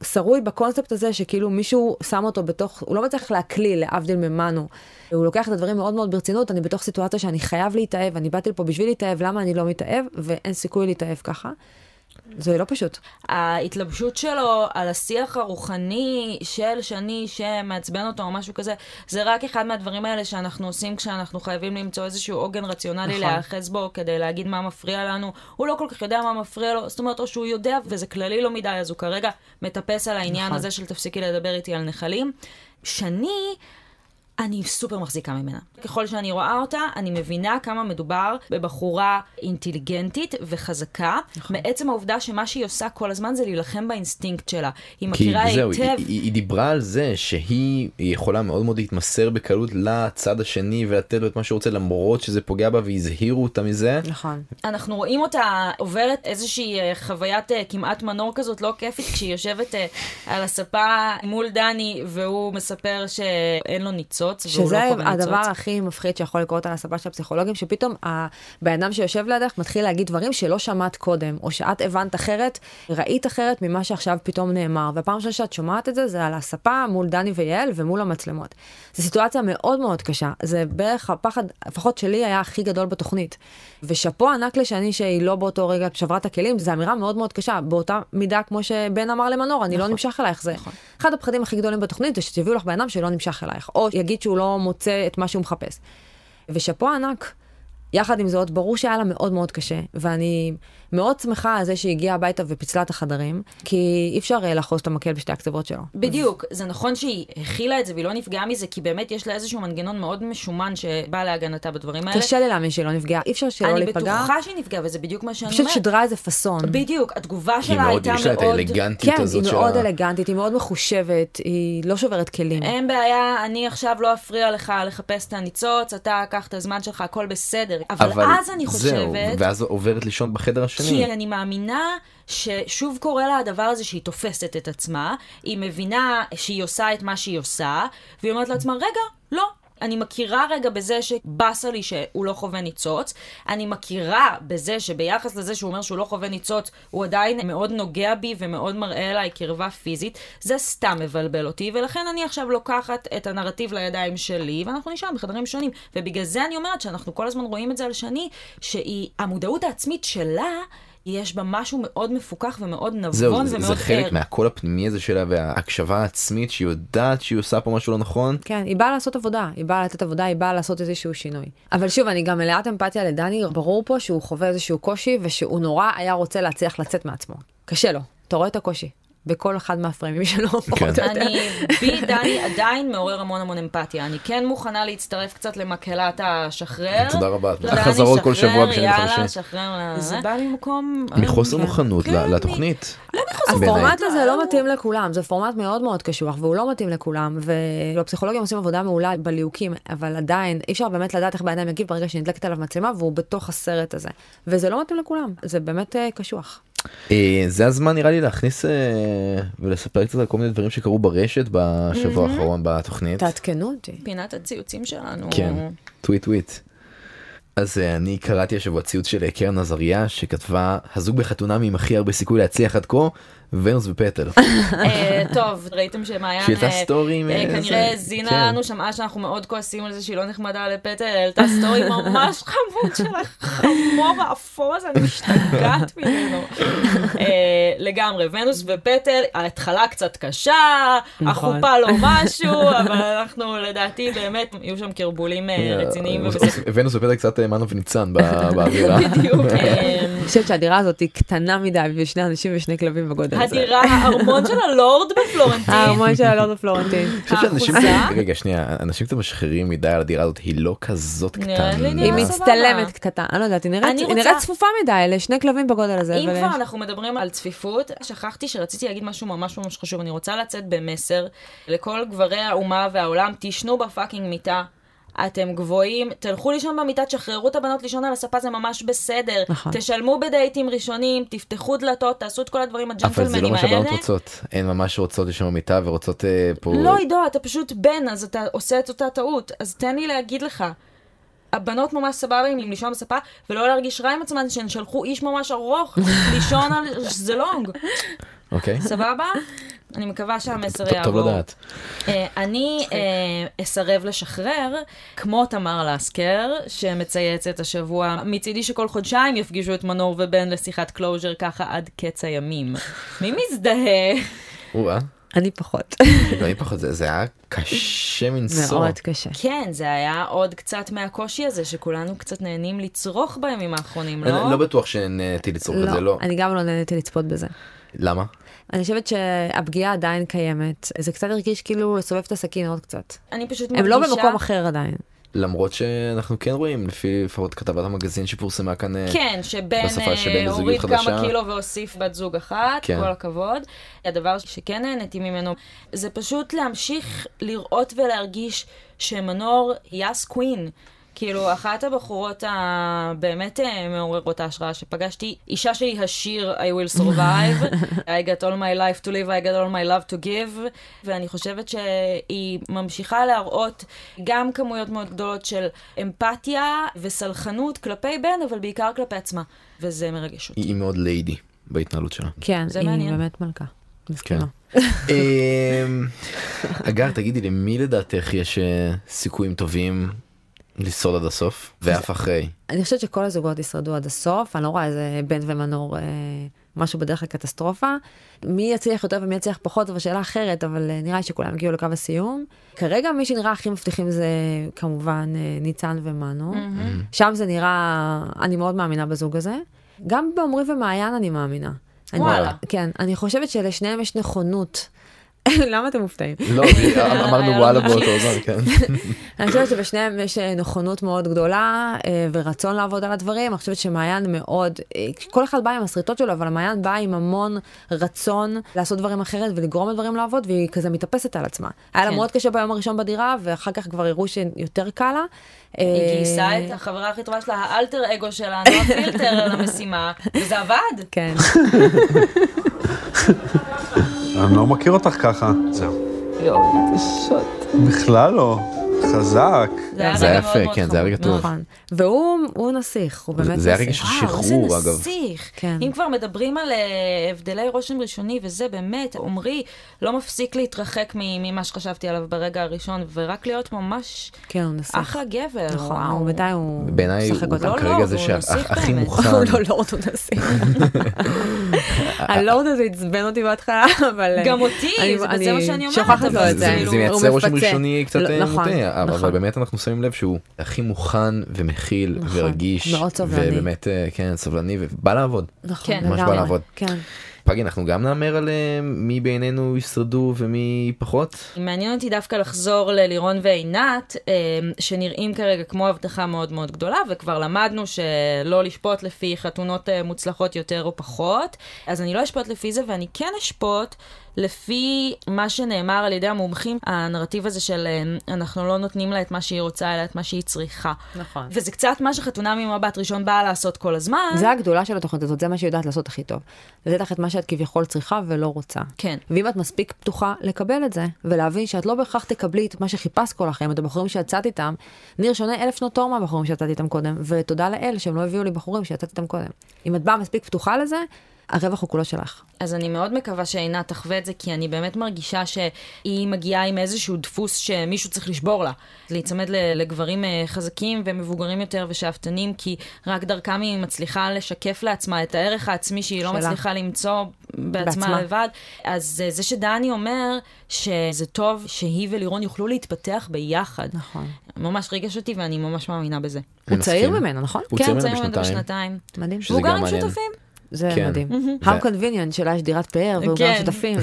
[SPEAKER 3] שרוי בקונספט הזה שכאילו מישהו שם אותו בתוך, הוא לא מצליח להקליל, להבדיל ממנו. הוא לוקח את הדברים מאוד מאוד ברצינות, אני בתוך סיטואציה שאני חייב להתאהב, אני באתי לפה בשביל להתאהב, למה אני לא מתאהב, ואין סיכוי להתאהב ככה. זה לא פשוט.
[SPEAKER 2] ההתלבשות שלו על השיח הרוחני של שני שמעצבן אותו או משהו כזה, זה רק אחד מהדברים האלה שאנחנו עושים כשאנחנו חייבים למצוא איזשהו עוגן רציונלי
[SPEAKER 3] נכון.
[SPEAKER 2] נכון. להיאחז בו כדי להגיד מה מפריע לנו. הוא לא כל כך יודע מה מפריע לו, זאת אומרת, או שהוא יודע וזה כללי לא מדי, אז הוא כרגע מטפס על העניין
[SPEAKER 3] נכון.
[SPEAKER 2] נכון. הזה של תפסיקי לדבר איתי על נחלים. שני, אני סופר מחזיקה ממנה. ככל שאני רואה אותה, אני מבינה כמה מדובר בבחורה אינטליגנטית וחזקה, נכון. מעצם העובדה שמה שהיא עושה כל הזמן זה להילחם באינסטינקט שלה. היא
[SPEAKER 1] כי
[SPEAKER 2] מכירה
[SPEAKER 1] זהו,
[SPEAKER 2] היטב.
[SPEAKER 1] היא, היא, היא דיברה על זה שהיא היא יכולה מאוד מאוד להתמסר בקלות לצד השני ולתת לו את מה שהוא רוצה למרות שזה פוגע בה והזהירו אותה מזה.
[SPEAKER 3] נכון.
[SPEAKER 2] אנחנו רואים אותה עוברת איזושהי אה, חוויית אה, כמעט מנור כזאת לא כיפית כשהיא יושבת אה, על הספה מול דני והוא מספר שאין לו ניצוץ והוא לא
[SPEAKER 3] שזה
[SPEAKER 2] חווה ניצוץ.
[SPEAKER 3] הדבר הכי מפחיד שיכול לקרות על הספה של הפסיכולוגים, שפתאום הבן אדם שיושב לידך מתחיל להגיד דברים שלא שמעת קודם, או שאת הבנת אחרת, ראית אחרת ממה שעכשיו פתאום נאמר. והפעם הראשונה שאת שומעת את זה, זה על הספה מול דני ויעל ומול המצלמות. זו סיטואציה מאוד מאוד קשה, זה בערך הפחד, לפחות שלי, היה הכי גדול בתוכנית. ושאפו ענק לשני שהיא לא באותו רגע שברה את הכלים, זו אמירה מאוד מאוד קשה, באותה מידה כמו שבן אמר למנור, אני
[SPEAKER 2] נכון.
[SPEAKER 3] לא נמשך אלייך, זה אחד הפחדים הכי גדולים בתוכנית זה שתביאו לך בן אדם שלא נמשך אלייך, או יגיד שהוא לא מוצא את מה שהוא מחפש. ושאפו ענק. יחד עם זאת, ברור שהיה לה מאוד מאוד קשה, ואני מאוד שמחה על זה שהיא הגיעה הביתה ופיצלה את החדרים, כי אי אפשר אה, לאחוז את המקל בשתי הקצוות שלו.
[SPEAKER 2] בדיוק, זה נכון שהיא הכילה את זה והיא לא נפגעה מזה, כי באמת יש לה איזשהו מנגנון מאוד משומן שבא להגנתה בדברים האלה.
[SPEAKER 3] קשה לי להאמין שהיא לא נפגעה, אי אפשר שלא
[SPEAKER 2] אני
[SPEAKER 3] להיפגע.
[SPEAKER 2] בטוחה שהיא נפגעה, וזה בדיוק מה שאני
[SPEAKER 3] פשוט
[SPEAKER 2] אומרת.
[SPEAKER 3] שידרה איזה פאסון.
[SPEAKER 2] בדיוק, התגובה
[SPEAKER 1] היא
[SPEAKER 2] שלה
[SPEAKER 1] מאוד,
[SPEAKER 2] הייתה
[SPEAKER 1] יש לה את
[SPEAKER 2] מאוד...
[SPEAKER 1] האלגנטיות
[SPEAKER 3] כן,
[SPEAKER 1] הזאת
[SPEAKER 3] היא
[SPEAKER 1] שלה.
[SPEAKER 3] מאוד אלגנטית, היא מאוד מחושבת, היא לא שוברת כלים.
[SPEAKER 2] אין בעיה, אני עכשיו לא אפריע לך לחפש את הניצוץ, אתה קח את הזמן שלך, הכל בסדר. אבל,
[SPEAKER 1] אבל
[SPEAKER 2] אז אני
[SPEAKER 1] זהו,
[SPEAKER 2] חושבת...
[SPEAKER 1] ואז עוברת לישון בחדר השני.
[SPEAKER 2] כי אני מאמינה ששוב קורה לה הדבר הזה שהיא תופסת את עצמה, היא מבינה שהיא עושה את מה שהיא עושה, והיא אומרת לעצמה, רגע, לא. אני מכירה רגע בזה שבאסה לי שהוא לא חווה ניצוץ, אני מכירה בזה שביחס לזה שהוא אומר שהוא לא חווה ניצוץ, הוא עדיין מאוד נוגע בי ומאוד מראה אליי קרבה פיזית, זה סתם מבלבל אותי, ולכן אני עכשיו לוקחת את הנרטיב לידיים שלי, ואנחנו נשאר בחדרים שונים. ובגלל זה אני אומרת שאנחנו כל הזמן רואים את זה על שני, שהיא, המודעות העצמית שלה יש בה משהו מאוד מפוקח ומאוד נבון
[SPEAKER 1] זהו,
[SPEAKER 2] ומאוד
[SPEAKER 1] זה,
[SPEAKER 2] ער.
[SPEAKER 1] זה חלק מהקול הפנימי הזה שלה וההקשבה העצמית שהיא יודעת שהיא עושה פה משהו לא נכון.
[SPEAKER 3] כן, היא באה לעשות עבודה, היא באה לתת עבודה, היא באה לעשות איזשהו שינוי. אבל שוב, אני גם מלאת אמפתיה לדני, ברור פה שהוא חווה איזשהו קושי ושהוא נורא היה רוצה להצליח לצאת מעצמו. קשה לו, אתה רואה את הקושי, בכל אחד מהפרמים שלו, פחות או
[SPEAKER 1] כן.
[SPEAKER 3] יותר.
[SPEAKER 2] (laughs) אני, בי דני עדיין מעורר המון המון אמפתיה. אני כן מוכנה להצטרף קצת למקהלת השחרר.
[SPEAKER 1] תודה רבה, את
[SPEAKER 2] תודה, אני
[SPEAKER 1] חזרות כל
[SPEAKER 2] שחרר,
[SPEAKER 1] שבוע בשני
[SPEAKER 2] יאללה,
[SPEAKER 1] וחמישי.
[SPEAKER 2] שחרר. אה? זה בא ממקום...
[SPEAKER 1] מחוסר
[SPEAKER 2] כן.
[SPEAKER 1] מוכנות
[SPEAKER 2] כן, לא
[SPEAKER 1] ל-
[SPEAKER 2] אני-
[SPEAKER 1] לתוכנית. בעיניי.
[SPEAKER 3] הפורמט הזה לא מתאים לכולם, זה פורמט מאוד מאוד קשוח, והוא לא מתאים לכולם, והפסיכולוגים עושים עבודה מעולה בליהוקים, אבל עדיין אי אפשר באמת לדעת איך בן אדם יגיב ברגע שנדלקת עליו מצלמה והוא בתוך הסרט הזה. וזה לא מתאים לכולם, זה באמת אה, קשוח.
[SPEAKER 1] אה, זה הזמן נראה לי להכניס אה, ולספר קצת על כל מיני דברים שקרו ברשת בשבוע האחרון בתוכנית.
[SPEAKER 3] תעדכנו אותי.
[SPEAKER 2] פינת הציוצים שלנו.
[SPEAKER 1] כן, טוויט טוויט. אז אה, אני קראתי השבוע ציוץ של אה, קרן עזריה שכתבה הזוג בחתונמי עם הכי הרבה סיכוי להצליח עד כה ונוס ופטל.
[SPEAKER 2] (laughs) אה, טוב, ראיתם שמעיין...
[SPEAKER 1] שהיא העלתה
[SPEAKER 2] אה,
[SPEAKER 1] סטורי עם,
[SPEAKER 2] אה,
[SPEAKER 1] אה,
[SPEAKER 2] כנראה
[SPEAKER 1] זה.
[SPEAKER 2] האזינה
[SPEAKER 1] כן.
[SPEAKER 2] לנו, שמעה שאנחנו מאוד כועסים על זה שהיא לא נחמדה לפטל, העלתה סטורי
[SPEAKER 1] (laughs)
[SPEAKER 2] ממש חמוד שלך, חמור ואפוז, אני משתגעת ממנו. אה, לגמרי, ונוס ופטל, ההתחלה קצת קשה, החופה לא משהו, אבל אנחנו לדעתי באמת, יהיו שם קרבולים אה, רציניים ובסדר.
[SPEAKER 1] (laughs) ונוס ופטל קצת אה, מנו וניצן
[SPEAKER 2] (laughs)
[SPEAKER 1] ב- באווירה. (laughs)
[SPEAKER 2] בדיוק. אה,
[SPEAKER 3] אני חושבת שהדירה הזאת היא קטנה מדי בשביל שני אנשים ושני כלבים בגודל הזה.
[SPEAKER 2] הדירה, הארמון של הלורד בפלורנטין.
[SPEAKER 3] ההרמון של הלורד הפלורנטין.
[SPEAKER 2] (laughs)
[SPEAKER 1] אני חושב שאנשים,
[SPEAKER 2] האחוזה?
[SPEAKER 1] רגע שנייה, אנשים קצת משחררים מדי על הדירה הזאת, היא לא כזאת
[SPEAKER 2] נראה
[SPEAKER 1] קטנה.
[SPEAKER 2] לי
[SPEAKER 3] היא
[SPEAKER 2] נראה סבבה.
[SPEAKER 3] מצטלמת קטן, אני לא יודעת, היא נראית-
[SPEAKER 2] אני
[SPEAKER 3] היא
[SPEAKER 2] רוצה-
[SPEAKER 3] נראית צפופה מדי לשני כלבים בגודל הזה.
[SPEAKER 2] אם
[SPEAKER 3] אבל
[SPEAKER 2] כבר
[SPEAKER 3] יש-
[SPEAKER 2] אנחנו מדברים על צפיפות, שכחתי שרציתי להגיד משהו ממש ממש חשוב. אני רוצה לצאת במסר לכל גברי האומה והעולם, תישנו בפאקינג מיטה. אתם גבוהים, תלכו לישון במיטה, תשחררו את הבנות לישון על הספה, זה ממש בסדר.
[SPEAKER 3] נכון.
[SPEAKER 2] תשלמו בדייטים ראשונים, תפתחו דלתות, תעשו את כל הדברים
[SPEAKER 1] אבל
[SPEAKER 2] הג'נטלמנים
[SPEAKER 1] זה
[SPEAKER 2] האלה.
[SPEAKER 1] לא מה שהבנות רוצות, הן ממש רוצות לשם במיטה ורוצות אה, פה...
[SPEAKER 2] לא, עידו, אתה פשוט בן, אז אתה עושה את אותה טעות. אז תן לי להגיד לך. הבנות ממש סבבה עם לישון בספה, ולא להרגיש רע עם עצמן שהן שלחו איש ממש ארוך
[SPEAKER 1] (laughs)
[SPEAKER 2] לישון על זלונג.
[SPEAKER 1] אוקיי?
[SPEAKER 2] סבבה? אני מקווה שהמסר
[SPEAKER 1] טוב-
[SPEAKER 2] יעבור.
[SPEAKER 1] טוב לדעת.
[SPEAKER 2] אה, אני אה, אסרב לשחרר, כמו תמר לסקר, שמצייצת השבוע, מצידי שכל חודשיים יפגישו את מנור ובן לשיחת קלוז'ר ככה עד קץ הימים. מי מזדהה?
[SPEAKER 1] או-אה,
[SPEAKER 3] אני
[SPEAKER 1] (laughs)
[SPEAKER 3] פחות.
[SPEAKER 1] גם היא אה, לא, פחות, זה זה היה קשה מנשוא.
[SPEAKER 3] מאוד קשה.
[SPEAKER 2] כן, זה היה עוד קצת מהקושי הזה שכולנו קצת נהנים לצרוך בימים האחרונים,
[SPEAKER 1] אני
[SPEAKER 2] לא?
[SPEAKER 1] לא בטוח שנהניתי לצרוך את זה, לא.
[SPEAKER 3] אני גם לא נהניתי לצפות בזה.
[SPEAKER 1] למה?
[SPEAKER 3] אני חושבת שהפגיעה עדיין קיימת. זה קצת הרגיש כאילו לסובב את הסכין עוד קצת.
[SPEAKER 2] אני פשוט
[SPEAKER 3] הם
[SPEAKER 2] מרגישה...
[SPEAKER 3] לא במקום אחר עדיין.
[SPEAKER 1] למרות שאנחנו כן רואים, לפי לפחות כתבת המגזין שפורסמה כאן, אה,
[SPEAKER 2] כן, שבן
[SPEAKER 1] בשפה
[SPEAKER 2] אה,
[SPEAKER 1] שבין לזוגיות
[SPEAKER 2] הוריד כמה
[SPEAKER 1] חדשה.
[SPEAKER 2] קילו והוסיף בת זוג אחת,
[SPEAKER 1] כן.
[SPEAKER 2] כל הכבוד. הדבר שכן נהניתי ממנו, זה פשוט להמשיך לראות ולהרגיש שמנור היא יאס קווין. כאילו, אחת הבחורות הבאמת אה, מעוררות ההשראה שפגשתי, אישה שהיא השיר I will survive, I got all my life to live, I got all my love to give, ואני חושבת שהיא ממשיכה להראות גם כמויות מאוד גדולות של אמפתיה וסלחנות כלפי בן, אבל בעיקר כלפי עצמה, וזה מרגש אותי.
[SPEAKER 1] היא היא מאוד ליידי בהתנהלות שלה.
[SPEAKER 3] כן,
[SPEAKER 2] זה
[SPEAKER 3] היא
[SPEAKER 2] מעניין.
[SPEAKER 3] באמת מלכה.
[SPEAKER 1] כן.
[SPEAKER 3] מסכימה.
[SPEAKER 1] (laughs) אמ, אגר, תגידי, למי לדעתך יש אה, סיכויים טובים לשרוד עד הסוף? ואף אחרי.
[SPEAKER 3] אני חושבת שכל הזוגות ישרדו עד הסוף, אני לא רואה איזה בן ומנור אה, משהו בדרך לקטסטרופה. מי יצליח יותר ומי יצליח פחות זו שאלה אחרת, אבל אה, נראה לי שכולם הגיעו לקו הסיום. כרגע מי שנראה הכי מבטיחים זה כמובן אה, ניצן ומנו. שם זה נראה, אני מאוד מאמינה בזוג הזה. גם בעמרי ומעיין אני מאמינה. אני-
[SPEAKER 2] וואלה.
[SPEAKER 3] כן, אני חושבת שלשניהם יש נכונות. (laughs) למה אתם מופתעים?
[SPEAKER 1] לא, אמרנו
[SPEAKER 2] היה
[SPEAKER 1] וואלה
[SPEAKER 2] לנו
[SPEAKER 1] באותו זמן, כן.
[SPEAKER 3] אני חושבת שבשניהם יש אה, נכונות מאוד גדולה אה, ורצון לעבוד על הדברים. אני חושבת שמעיין מאוד, אה, כל אחד בא עם הסריטות שלו, אבל מעיין באה עם המון רצון לעשות דברים אחרת ולגרום לדברים לעבוד, והיא כזה מתאפסת על עצמה. היה לה
[SPEAKER 2] כן.
[SPEAKER 3] מאוד קשה ביום הראשון בדירה, ואחר כך כבר הראו שיותר קל לה.
[SPEAKER 2] היא
[SPEAKER 3] אה,
[SPEAKER 2] גייסה את החברה הכי טובה שלה, האלטר אגו שלנו, הפילטר
[SPEAKER 3] (laughs)
[SPEAKER 2] למשימה, וזה עבד.
[SPEAKER 3] כן.
[SPEAKER 8] אני לא מכיר אותך ככה. זהו. יואו, איזה שוט. בכלל לא. חזק.
[SPEAKER 2] היה
[SPEAKER 1] זה
[SPEAKER 2] רגע
[SPEAKER 1] היה
[SPEAKER 2] מאוד
[SPEAKER 1] יפה,
[SPEAKER 2] מאוד
[SPEAKER 1] כן, זה היה
[SPEAKER 2] חמוד.
[SPEAKER 1] רגע טוב.
[SPEAKER 3] נכון. והוא הוא נסיך, הוא באמת נסיך.
[SPEAKER 1] זה היה רגע של
[SPEAKER 2] וואו,
[SPEAKER 1] שחרור,
[SPEAKER 2] איזה
[SPEAKER 1] אגב.
[SPEAKER 2] נסיך.
[SPEAKER 3] כן.
[SPEAKER 2] אם כבר מדברים על אה, הבדלי רושם ראשוני, וזה באמת, עמרי לא מפסיק להתרחק מ- ממה שחשבתי עליו ברגע הראשון, ורק להיות ממש
[SPEAKER 3] כן, הוא נסיך.
[SPEAKER 2] אחלה גבר.
[SPEAKER 3] נכון,
[SPEAKER 2] וואו.
[SPEAKER 3] הוא בינתיים הוא
[SPEAKER 1] בעיניי
[SPEAKER 3] משחק
[SPEAKER 1] הוא
[SPEAKER 3] אותה.
[SPEAKER 2] לא,
[SPEAKER 1] כרגע
[SPEAKER 2] לא,
[SPEAKER 1] זה
[SPEAKER 2] הוא נסיך
[SPEAKER 1] שהכי
[SPEAKER 2] באמת.
[SPEAKER 1] מוכן.
[SPEAKER 3] הוא (laughs) לא לורד, הוא נסיך.
[SPEAKER 1] (laughs)
[SPEAKER 3] הלורד הזה לא עצבן אותי בהתחלה, אבל... אה,
[SPEAKER 2] גם אותי,
[SPEAKER 3] אני-
[SPEAKER 2] זה-
[SPEAKER 3] אני
[SPEAKER 2] זה מה שאני אומרת,
[SPEAKER 3] שוכחת לו
[SPEAKER 2] אבל
[SPEAKER 1] זה-
[SPEAKER 3] את זה.
[SPEAKER 1] זה
[SPEAKER 2] כאילו,
[SPEAKER 1] זה
[SPEAKER 3] לא הוא
[SPEAKER 1] מייצר רושם
[SPEAKER 3] מפצה.
[SPEAKER 1] ראשון קצת
[SPEAKER 3] לא,
[SPEAKER 1] אה,
[SPEAKER 3] נכון,
[SPEAKER 1] מוטה, אבל-
[SPEAKER 3] נכון.
[SPEAKER 1] אבל באמת אנחנו שמים לב שהוא הכי מוכן ומכיל
[SPEAKER 3] נכון,
[SPEAKER 1] ורגיש,
[SPEAKER 3] מאוד סבלני.
[SPEAKER 1] ובאמת אה, כן סבלני ובא לעבוד.
[SPEAKER 3] נכון,
[SPEAKER 2] כן,
[SPEAKER 1] ממש בא
[SPEAKER 3] לגמרי.
[SPEAKER 1] לעבוד.
[SPEAKER 3] כן.
[SPEAKER 1] פגי אנחנו גם נאמר על אה, מי בעינינו ישרדו ומי פחות.
[SPEAKER 2] מעניין אותי דווקא לחזור ללירון ועינת, אה, שנראים כרגע כמו הבטחה מאוד מאוד גדולה, וכבר למדנו שלא לשפוט לפי חתונות אה, מוצלחות יותר או פחות, אז אני לא אשפוט לפי זה, ואני כן אשפוט לפי מה שנאמר על ידי המומחים, הנרטיב הזה של אה, אנחנו לא נותנים לה את מה שהיא רוצה, אלא את מה שהיא צריכה.
[SPEAKER 3] נכון.
[SPEAKER 2] וזה קצת מה שחתונה ממבט ראשון באה לעשות כל הזמן.
[SPEAKER 3] זה הגדולה של התוכנית הזאת, זה מה שהיא יודעת לעשות הכי טוב. לתת לך את מה שאת כביכול צריכה ולא רוצה.
[SPEAKER 2] כן.
[SPEAKER 3] ואם את מספיק פתוחה לקבל את זה, ולהבין שאת לא בהכרח תקבלי את מה שחיפשת כל החיים, את הבחורים שיצאת איתם, ניר שונה אלף שנות תור מהבחורים שיצאת איתם קודם, ותודה לאל שהם לא הביאו לי בחורים שיצאת איתם קודם. אם את באה מספיק פתוחה לזה, הרווח הוא כולו שלך.
[SPEAKER 2] אז אני מאוד מקווה שעינת תחווה את זה, כי אני באמת מרגישה שהיא מגיעה עם איזשהו דפוס שמישהו צריך לשבור לה. להיצמד ל- לגברים אה, חזקים ומבוגרים יותר ושאפתנים, כי רק דרכם היא מצליחה לשקף לעצמה את הערך העצמי שהיא לא
[SPEAKER 3] שלה.
[SPEAKER 2] מצליחה למצוא בעצמה,
[SPEAKER 3] בעצמה.
[SPEAKER 2] לבד. אז אה, זה שדני אומר שזה טוב שהיא ולירון יוכלו להתפתח ביחד.
[SPEAKER 3] נכון.
[SPEAKER 2] ממש ריגש אותי ואני ממש מאמינה בזה.
[SPEAKER 3] הוא
[SPEAKER 1] אני
[SPEAKER 3] צעיר
[SPEAKER 1] מסכים.
[SPEAKER 3] ממנה, נכון?
[SPEAKER 1] הוא
[SPEAKER 2] כן,
[SPEAKER 1] צעיר ממנו
[SPEAKER 2] צעיר ממנו
[SPEAKER 1] בשנתיים.
[SPEAKER 2] בשנתיים.
[SPEAKER 3] מדהים.
[SPEAKER 1] שזה
[SPEAKER 2] והוא גר
[SPEAKER 1] גם
[SPEAKER 2] עם
[SPEAKER 1] מעניין.
[SPEAKER 2] שותפים.
[SPEAKER 3] זה
[SPEAKER 1] כן.
[SPEAKER 3] מדהים.
[SPEAKER 1] ו-
[SPEAKER 3] How convenient שלה יש דירת פאר, והוא גר
[SPEAKER 2] כן. (laughs)
[SPEAKER 3] שותפים.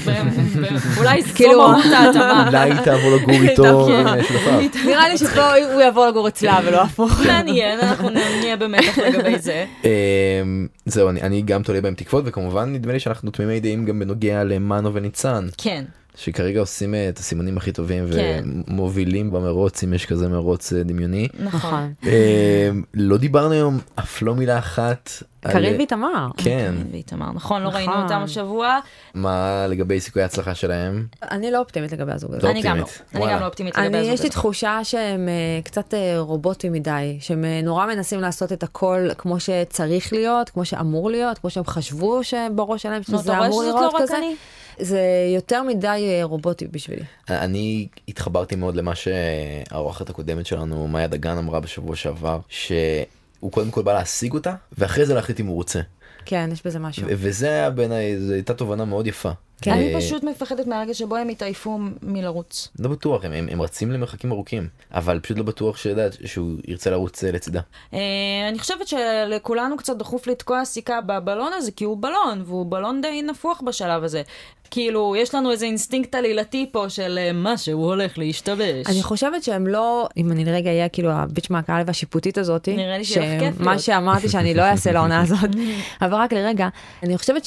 [SPEAKER 2] אולי זו
[SPEAKER 3] (laughs) כאילו-
[SPEAKER 2] מהות ההתאמה.
[SPEAKER 1] אולי תעבור לגור
[SPEAKER 3] (laughs)
[SPEAKER 1] איתו עם אה, שותפיו.
[SPEAKER 3] (laughs) נראה לי שפה הוא יעבור לגור אצלה ולא הפוך.
[SPEAKER 2] מעניין, אנחנו נהיה במתח לגבי זה.
[SPEAKER 1] אמ, זהו אני- אני גם תולה בהם תקוות וכמובן נדמה לי שאנחנו תמימי דעים גם בנוגע למאנו וניצן
[SPEAKER 2] כן,
[SPEAKER 1] שכרגע עושים אה, את הסימנים הכי טובים
[SPEAKER 2] כן.
[SPEAKER 1] ומובילים במרוץ אם יש כזה מרוץ אה, דמיוני.
[SPEAKER 3] נכון.
[SPEAKER 1] אמ, לא דיברנו היום אף לא מילה אחת. על-
[SPEAKER 3] קריב איתמר.
[SPEAKER 1] כן
[SPEAKER 2] ואיתמר, נכון, לא ראינו
[SPEAKER 3] נכון.
[SPEAKER 2] אותם השבוע.
[SPEAKER 1] מה לגבי סיכויי ההצלחה שלהם
[SPEAKER 3] אני לא אופטימית לגבי הזוג הזה.
[SPEAKER 1] לא
[SPEAKER 2] אני גם לא.
[SPEAKER 1] אופטימית.
[SPEAKER 2] אני
[SPEAKER 1] וואלה.
[SPEAKER 2] גם לא אופטימית לגבי
[SPEAKER 3] אני,
[SPEAKER 2] הזוג
[SPEAKER 3] יש לי
[SPEAKER 2] הזה.
[SPEAKER 3] תחושה שהם אה, קצת אה, רובוטים מדי, שהם אה, נורא מנסים לעשות את הכל כמו שצריך להיות, כמו שאמור להיות, כמו שהם חשבו שבראש שלהם
[SPEAKER 2] נו, אתה
[SPEAKER 3] שזה
[SPEAKER 2] רואה
[SPEAKER 3] אמור
[SPEAKER 2] שזאת
[SPEAKER 3] לראות
[SPEAKER 2] לא רק
[SPEAKER 3] כזה.
[SPEAKER 2] אני?
[SPEAKER 3] זה יותר מדי אה, רובוטי בשבילי.
[SPEAKER 1] אני התחברתי מאוד למה שהאורחת הקודמת שלנו מאיה דגן אמרה בשבוע שעבר שהוא קודם כל בא להשיג אותה ואחרי זה להחליט אם הוא רוצה.
[SPEAKER 3] כן, יש בזה משהו.
[SPEAKER 1] ו- וזה היה בעיניי, זו הייתה תובנה מאוד יפה.
[SPEAKER 3] כן.
[SPEAKER 2] אני
[SPEAKER 1] אה,
[SPEAKER 2] פשוט מפחדת מהרגע שבו הם יתעייפו מלרוץ.
[SPEAKER 1] לא בטוח, הם, הם, הם רצים למרחקים ארוכים, אבל פשוט לא בטוח שיודעת שהוא ירצה לרוץ אה, לצידה.
[SPEAKER 2] אה, אני חושבת שלכולנו קצת דחוף לתקוע סיכה בבלון הזה, כי הוא בלון, והוא בלון די נפוח בשלב הזה. כאילו, יש לנו איזה אינסטינקט עלילתי פה של אה, משהו הולך להשתבש.
[SPEAKER 3] אני חושבת שהם לא, אם אני לרגע אהיה כאילו הביץ' מהקהל והשיפוטית הזאת,
[SPEAKER 2] נראה לי שיהיה לך כיף
[SPEAKER 3] מה
[SPEAKER 2] להיות.
[SPEAKER 3] שאמרתי שאני לא אעשה לעונה
[SPEAKER 2] (laughs)
[SPEAKER 3] הזאת, אבל רק לרגע, אני חושבת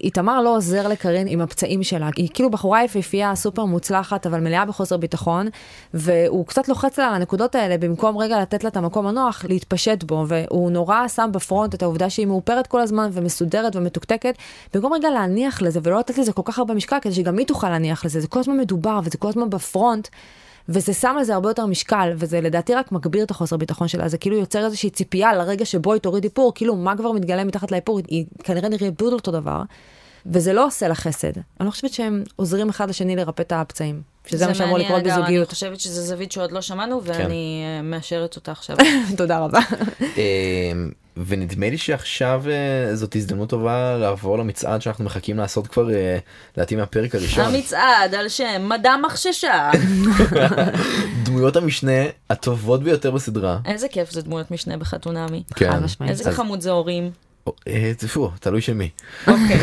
[SPEAKER 3] שאיתמר לא עוזר לקרין עם הפצעים שלה, היא כאילו בחורה יפהפייה, סופר מוצלחת, אבל מלאה בחוסר ביטחון, והוא קצת לוחץ לה על הנקודות האלה, במקום רגע לתת לה את המקום הנוח, להתפשט בו, והוא נורא שם בפרונט את העובדה שהיא מאופרת כל הזמן ומסודרת ומתוקתקת, במקום רגע להניח לזה ולא לתת לזה כל כך הרבה משקל, כדי שגם היא תוכל להניח לזה, זה כל הזמן מדובר וזה כל הזמן בפרונט. וזה שם על זה הרבה יותר משקל, וזה לדעתי רק מגביר את החוסר ביטחון שלה, זה כאילו יוצר איזושהי ציפייה לרגע שבו היא תוריד איפור, כאילו מה כבר מתגלה מתחת לאיפור, היא כנראה נראית בדיוק אותו דבר, וזה לא עושה לה חסד. אני לא חושבת שהם עוזרים אחד לשני לרפא את הפצעים, שזה מה שאמור
[SPEAKER 2] מעניין,
[SPEAKER 3] לקרות
[SPEAKER 2] אגב, אני
[SPEAKER 3] בזוגיות.
[SPEAKER 2] חושבת שזה זווית שעוד לא שמענו,
[SPEAKER 1] כן.
[SPEAKER 2] ואני אה, מאשרת אותה עכשיו.
[SPEAKER 3] (laughs) תודה רבה.
[SPEAKER 1] אה, ונדמה לי שעכשיו אה, זאת הזדמנות טובה לעבור למצעד שאנחנו מחכים לעשות כבר, אה, לדעתי מהפרק הראשון.
[SPEAKER 2] המצעד על שם מדע
[SPEAKER 1] (laughs)
[SPEAKER 2] מחששה.
[SPEAKER 1] דמויות המשנה הטובות ביותר בסדרה.
[SPEAKER 2] איזה כיף זה דמויות משנה בחתונמי.
[SPEAKER 1] כן.
[SPEAKER 3] חד משמעית.
[SPEAKER 2] איזה
[SPEAKER 1] אז-
[SPEAKER 2] חמוד זה הורים.
[SPEAKER 1] אה, תפו, תלוי של מי.
[SPEAKER 2] אוקיי.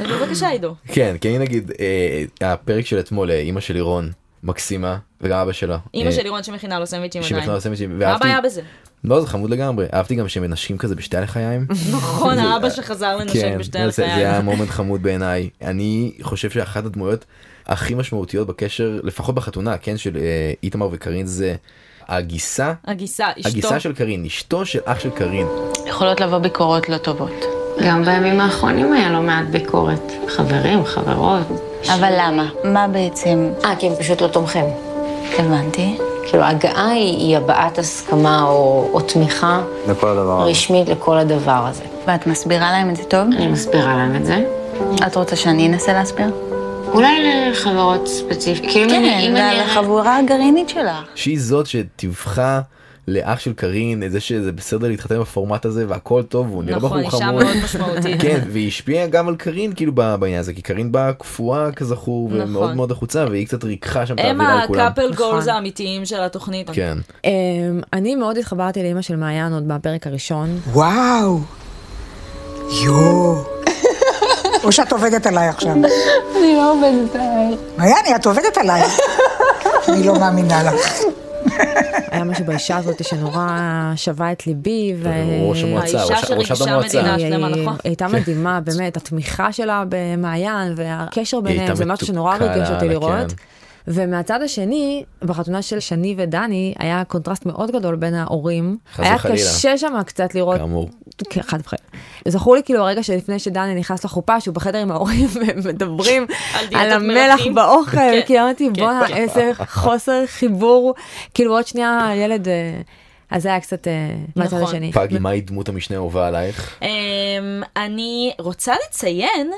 [SPEAKER 2] אז בבקשה עידו.
[SPEAKER 1] כן, כי אני נגיד, אה, הפרק של אתמול, אה, אימא של לירון, מקסימה, וגם אבא שלה.
[SPEAKER 2] אימא
[SPEAKER 1] אה,
[SPEAKER 2] של לירון שמכינה לו סנדוויצ'ים עדיין.
[SPEAKER 1] שמכינה לו סנדוויצ'ים,
[SPEAKER 2] מה
[SPEAKER 1] ואהבתי-
[SPEAKER 2] הבעיה
[SPEAKER 1] (laughs)
[SPEAKER 2] בזה?
[SPEAKER 1] לא, זה חמוד לגמרי. אהבתי גם שהם מנשים כזה בשתי
[SPEAKER 2] (laughs)
[SPEAKER 1] הלחיים.
[SPEAKER 2] נכון, האבא שחזר לנשק בשתי
[SPEAKER 1] כן, זה- זה היה
[SPEAKER 2] הלחיים.
[SPEAKER 1] מומנט חמוד בעיניי. אני חושב שאחת הדמויות הכי משמעותיות בקשר, לפחות בחתונה, כן, של אה, איתמר וקארין, זה הגיסה,
[SPEAKER 2] הגיסה, אשתו.
[SPEAKER 1] הגיסה של קארין, אשתו של אח של קארין.
[SPEAKER 8] יכולות לבוא ביקורות לא טובות.
[SPEAKER 9] גם בימים האחרונים היה לא מעט ביקורת. חברים, חברות.
[SPEAKER 10] אבל למה? מה בעצם?
[SPEAKER 9] אה, כי הם פשוט לא תומכים.
[SPEAKER 10] הבנתי.
[SPEAKER 9] כאילו, ההגעה היא, היא הבעת הסכמה או, או תמיכה
[SPEAKER 10] לכל הדבר הזה.
[SPEAKER 9] רשמית לכל הדבר הזה.
[SPEAKER 11] ואת מסבירה להם את זה טוב?
[SPEAKER 9] אני מסבירה להם את זה.
[SPEAKER 11] את רוצה שאני אנסה להסביר?
[SPEAKER 9] אולי לחברות ספציפיות. כאילו, אם אני-
[SPEAKER 11] כן,
[SPEAKER 9] אם אני...
[SPEAKER 11] לחבורה הגרעינית שלך.
[SPEAKER 1] שהיא זאת שטיווחה לאח של קארין את זה שזה בסדר להתחתן בפורמט הזה והכל טוב והוא נראה
[SPEAKER 2] נכון,
[SPEAKER 1] בחור
[SPEAKER 2] אישה
[SPEAKER 1] חמוד.
[SPEAKER 2] מאוד משמעותית.
[SPEAKER 1] (laughs) כן, והיא השפיעה גם על קארין כאילו ב- בעניין הזה, כי קארין באה קפואה כזכור ומאוד
[SPEAKER 2] נכון.
[SPEAKER 1] מאוד לחוצה והיא קצת ריככה שם את
[SPEAKER 2] הם
[SPEAKER 1] האווירה לכולם.
[SPEAKER 2] הקאפל גולס
[SPEAKER 3] נכון.
[SPEAKER 2] האמיתיים של התוכנית.
[SPEAKER 1] כן.
[SPEAKER 3] אמ, אני מאוד התחברתי לאימא של מעיין עוד בפרק הראשון.
[SPEAKER 12] וואו! יואו! (laughs) או שאת עובדת עליי עכשיו.
[SPEAKER 11] אני לא עובדת עליי.
[SPEAKER 12] מעייני, את עובדת עליי. אני לא מאמינה לך.
[SPEAKER 3] היה משהו באישה הזאת שנורא שווה את ליבי. ו-
[SPEAKER 2] אה,
[SPEAKER 1] ראש המועצה, האישה ראש- שראשת שריגשה המועצה. מדינה שלמה,
[SPEAKER 3] היא-
[SPEAKER 1] נכון?
[SPEAKER 3] היא הייתה
[SPEAKER 1] כן.
[SPEAKER 3] מדהימה, באמת, התמיכה שלה במעיין והקשר ביניהם,
[SPEAKER 1] הייתה
[SPEAKER 3] זה משהו שנורא
[SPEAKER 1] מתוקה
[SPEAKER 3] ריגש אותי
[SPEAKER 1] לאללה,
[SPEAKER 3] לראות.
[SPEAKER 1] כן.
[SPEAKER 3] ומהצד השני, בחתונה של שני ודני, היה קונטרסט מאוד גדול בין ההורים.
[SPEAKER 1] חס
[SPEAKER 3] היה
[SPEAKER 1] וחלילה.
[SPEAKER 3] קשה שם קצת לראות.
[SPEAKER 1] כאמור.
[SPEAKER 3] כן, חד וחלילה. זכור לי כאילו הרגע שלפני שדני נכנס לחופה, שהוא בחדר עם ההורים, (laughs) והם מדברים על
[SPEAKER 2] דיאטת
[SPEAKER 3] המלח
[SPEAKER 2] מלחים.
[SPEAKER 3] באוכל,
[SPEAKER 2] כן.
[SPEAKER 3] כי אמרתי,
[SPEAKER 2] כן.
[SPEAKER 3] בואנה, איזה חוסר חיבור. כאילו עוד שנייה הילד, אה, אז זה היה קצת אה, מהצד
[SPEAKER 2] נכון.
[SPEAKER 3] השני.
[SPEAKER 1] פגי, מהי דמות המשנה האהובה עלייך?
[SPEAKER 2] אמ, אני רוצה לציין,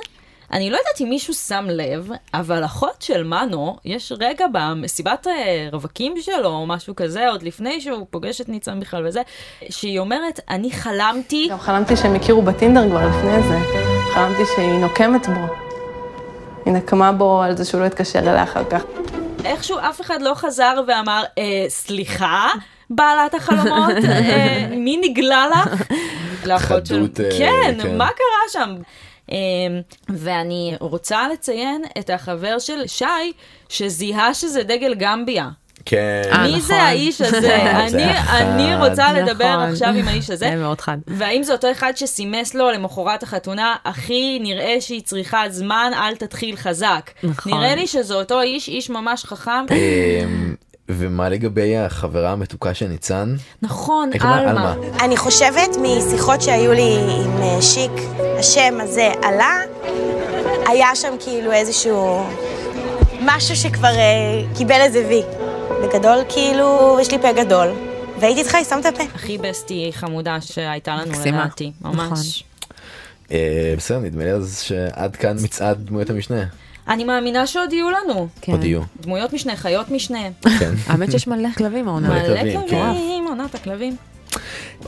[SPEAKER 2] אני לא יודעת אם מישהו שם לב, אבל אחות של מנו, יש רגע במסיבת אה, רווקים שלו, או משהו כזה, עוד לפני שהוא פוגש את ניצן בכלל וזה, שהיא אומרת, אני חלמתי...
[SPEAKER 11] גם חלמתי שהם הכירו בטינדר כבר לפני זה. חלמתי שהיא נוקמת בו. היא נקמה בו על זה שהוא לא התקשר אליה אחר כך.
[SPEAKER 2] איכשהו אף אחד לא חזר ואמר, אה, סליחה, בעלת החלומות, אה, מי נגלה
[SPEAKER 1] (laughs)
[SPEAKER 2] לך? לא, לאחות של-
[SPEAKER 1] חדות, אה,
[SPEAKER 2] כן,
[SPEAKER 1] כן.
[SPEAKER 2] מה קרה שם? אה, ואני רוצה לציין את החבר של שי, שזיהה שזה דגל גמביה.
[SPEAKER 1] כן.
[SPEAKER 3] אה,
[SPEAKER 2] מי זה
[SPEAKER 3] (laughs)
[SPEAKER 2] האיש הזה?
[SPEAKER 1] זה
[SPEAKER 2] אני-
[SPEAKER 1] אחד.
[SPEAKER 2] אני רוצה
[SPEAKER 3] נכון.
[SPEAKER 2] לדבר עכשיו עם האיש הזה.
[SPEAKER 3] זה מאוד חד.
[SPEAKER 2] והאם זה אותו אחד שסימס לו למחרת החתונה, אחי, נראה שהיא צריכה זמן, אל תתחיל חזק.
[SPEAKER 3] נכון.
[SPEAKER 2] נראה לי שזה אותו איש, איש ממש חכם.
[SPEAKER 1] אמ, ומה לגבי החברה המתוקה של ניצן?
[SPEAKER 2] נכון,
[SPEAKER 1] איך אמר? עלמה.
[SPEAKER 13] אני חושבת משיחות שהיו לי עם אה, שיק, השם הזה עלה, היה שם כאילו איזשהו משהו שכבר אה, קיבל איזה וי. בגדול, כאילו, יש לי פה גדול. והייתי צריכה לסתום את הפה.
[SPEAKER 2] הכי בסטי חמודה שהייתה לנו
[SPEAKER 3] מקסימה. נכון.
[SPEAKER 2] לדעתי, ממש.
[SPEAKER 1] אה, בסדר, נדמה לי אז שעד כאן מצעד דמויות המשנה.
[SPEAKER 2] אני מאמינה שעוד יהיו לנו.
[SPEAKER 1] עוד יהיו.
[SPEAKER 2] דמויות משנה, חיות משנה.
[SPEAKER 1] כן.
[SPEAKER 3] האמת שיש מלא כלבים העונה.
[SPEAKER 1] מלא
[SPEAKER 2] מלא
[SPEAKER 1] כלבים, כן.
[SPEAKER 2] כלבים, עונת הכלבים.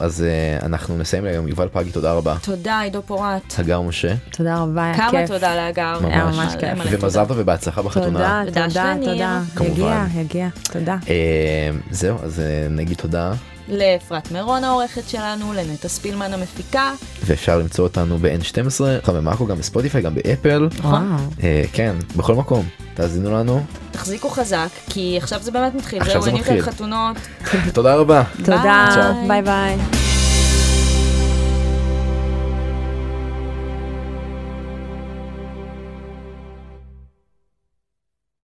[SPEAKER 1] אז אה, אנחנו נסיים להיום. יובל פגי, תודה רבה.
[SPEAKER 2] תודה, עידו פורט.
[SPEAKER 1] הגר משה.
[SPEAKER 3] (laughs) תודה רבה, היה כיף.
[SPEAKER 2] כמה תודה להגר.
[SPEAKER 1] ממש.
[SPEAKER 3] היה ממש
[SPEAKER 2] מלא
[SPEAKER 3] כיף.
[SPEAKER 2] מלא תודה.
[SPEAKER 1] ומזל טוב ובהצלחה בחתונה.
[SPEAKER 3] תודה,
[SPEAKER 2] תודה,
[SPEAKER 3] תודה,
[SPEAKER 2] שניר.
[SPEAKER 3] תודה. יגיע,
[SPEAKER 1] כמובן.
[SPEAKER 3] יגיע, תודה.
[SPEAKER 1] אה, זהו, אז אה, נגיד תודה,
[SPEAKER 2] לאפרת מירון העורכת שלנו, לנטע ספילמן המפיקה.
[SPEAKER 1] ואפשר למצוא אותנו ב-N12, במאקו, גם בספוטיפיי, גם באפל.
[SPEAKER 2] נכון.
[SPEAKER 1] אה, כן, בכל מקום. תאזינו לנו.
[SPEAKER 2] תחזיקו חזק, כי עכשיו זה באמת מתחיל.
[SPEAKER 1] עכשיו
[SPEAKER 2] זהו,
[SPEAKER 1] זה
[SPEAKER 2] אין יותר
[SPEAKER 1] מתחיל.
[SPEAKER 2] חתונות.
[SPEAKER 1] תודה רבה.
[SPEAKER 3] תודה,
[SPEAKER 1] צ'או.
[SPEAKER 3] ביי ביי.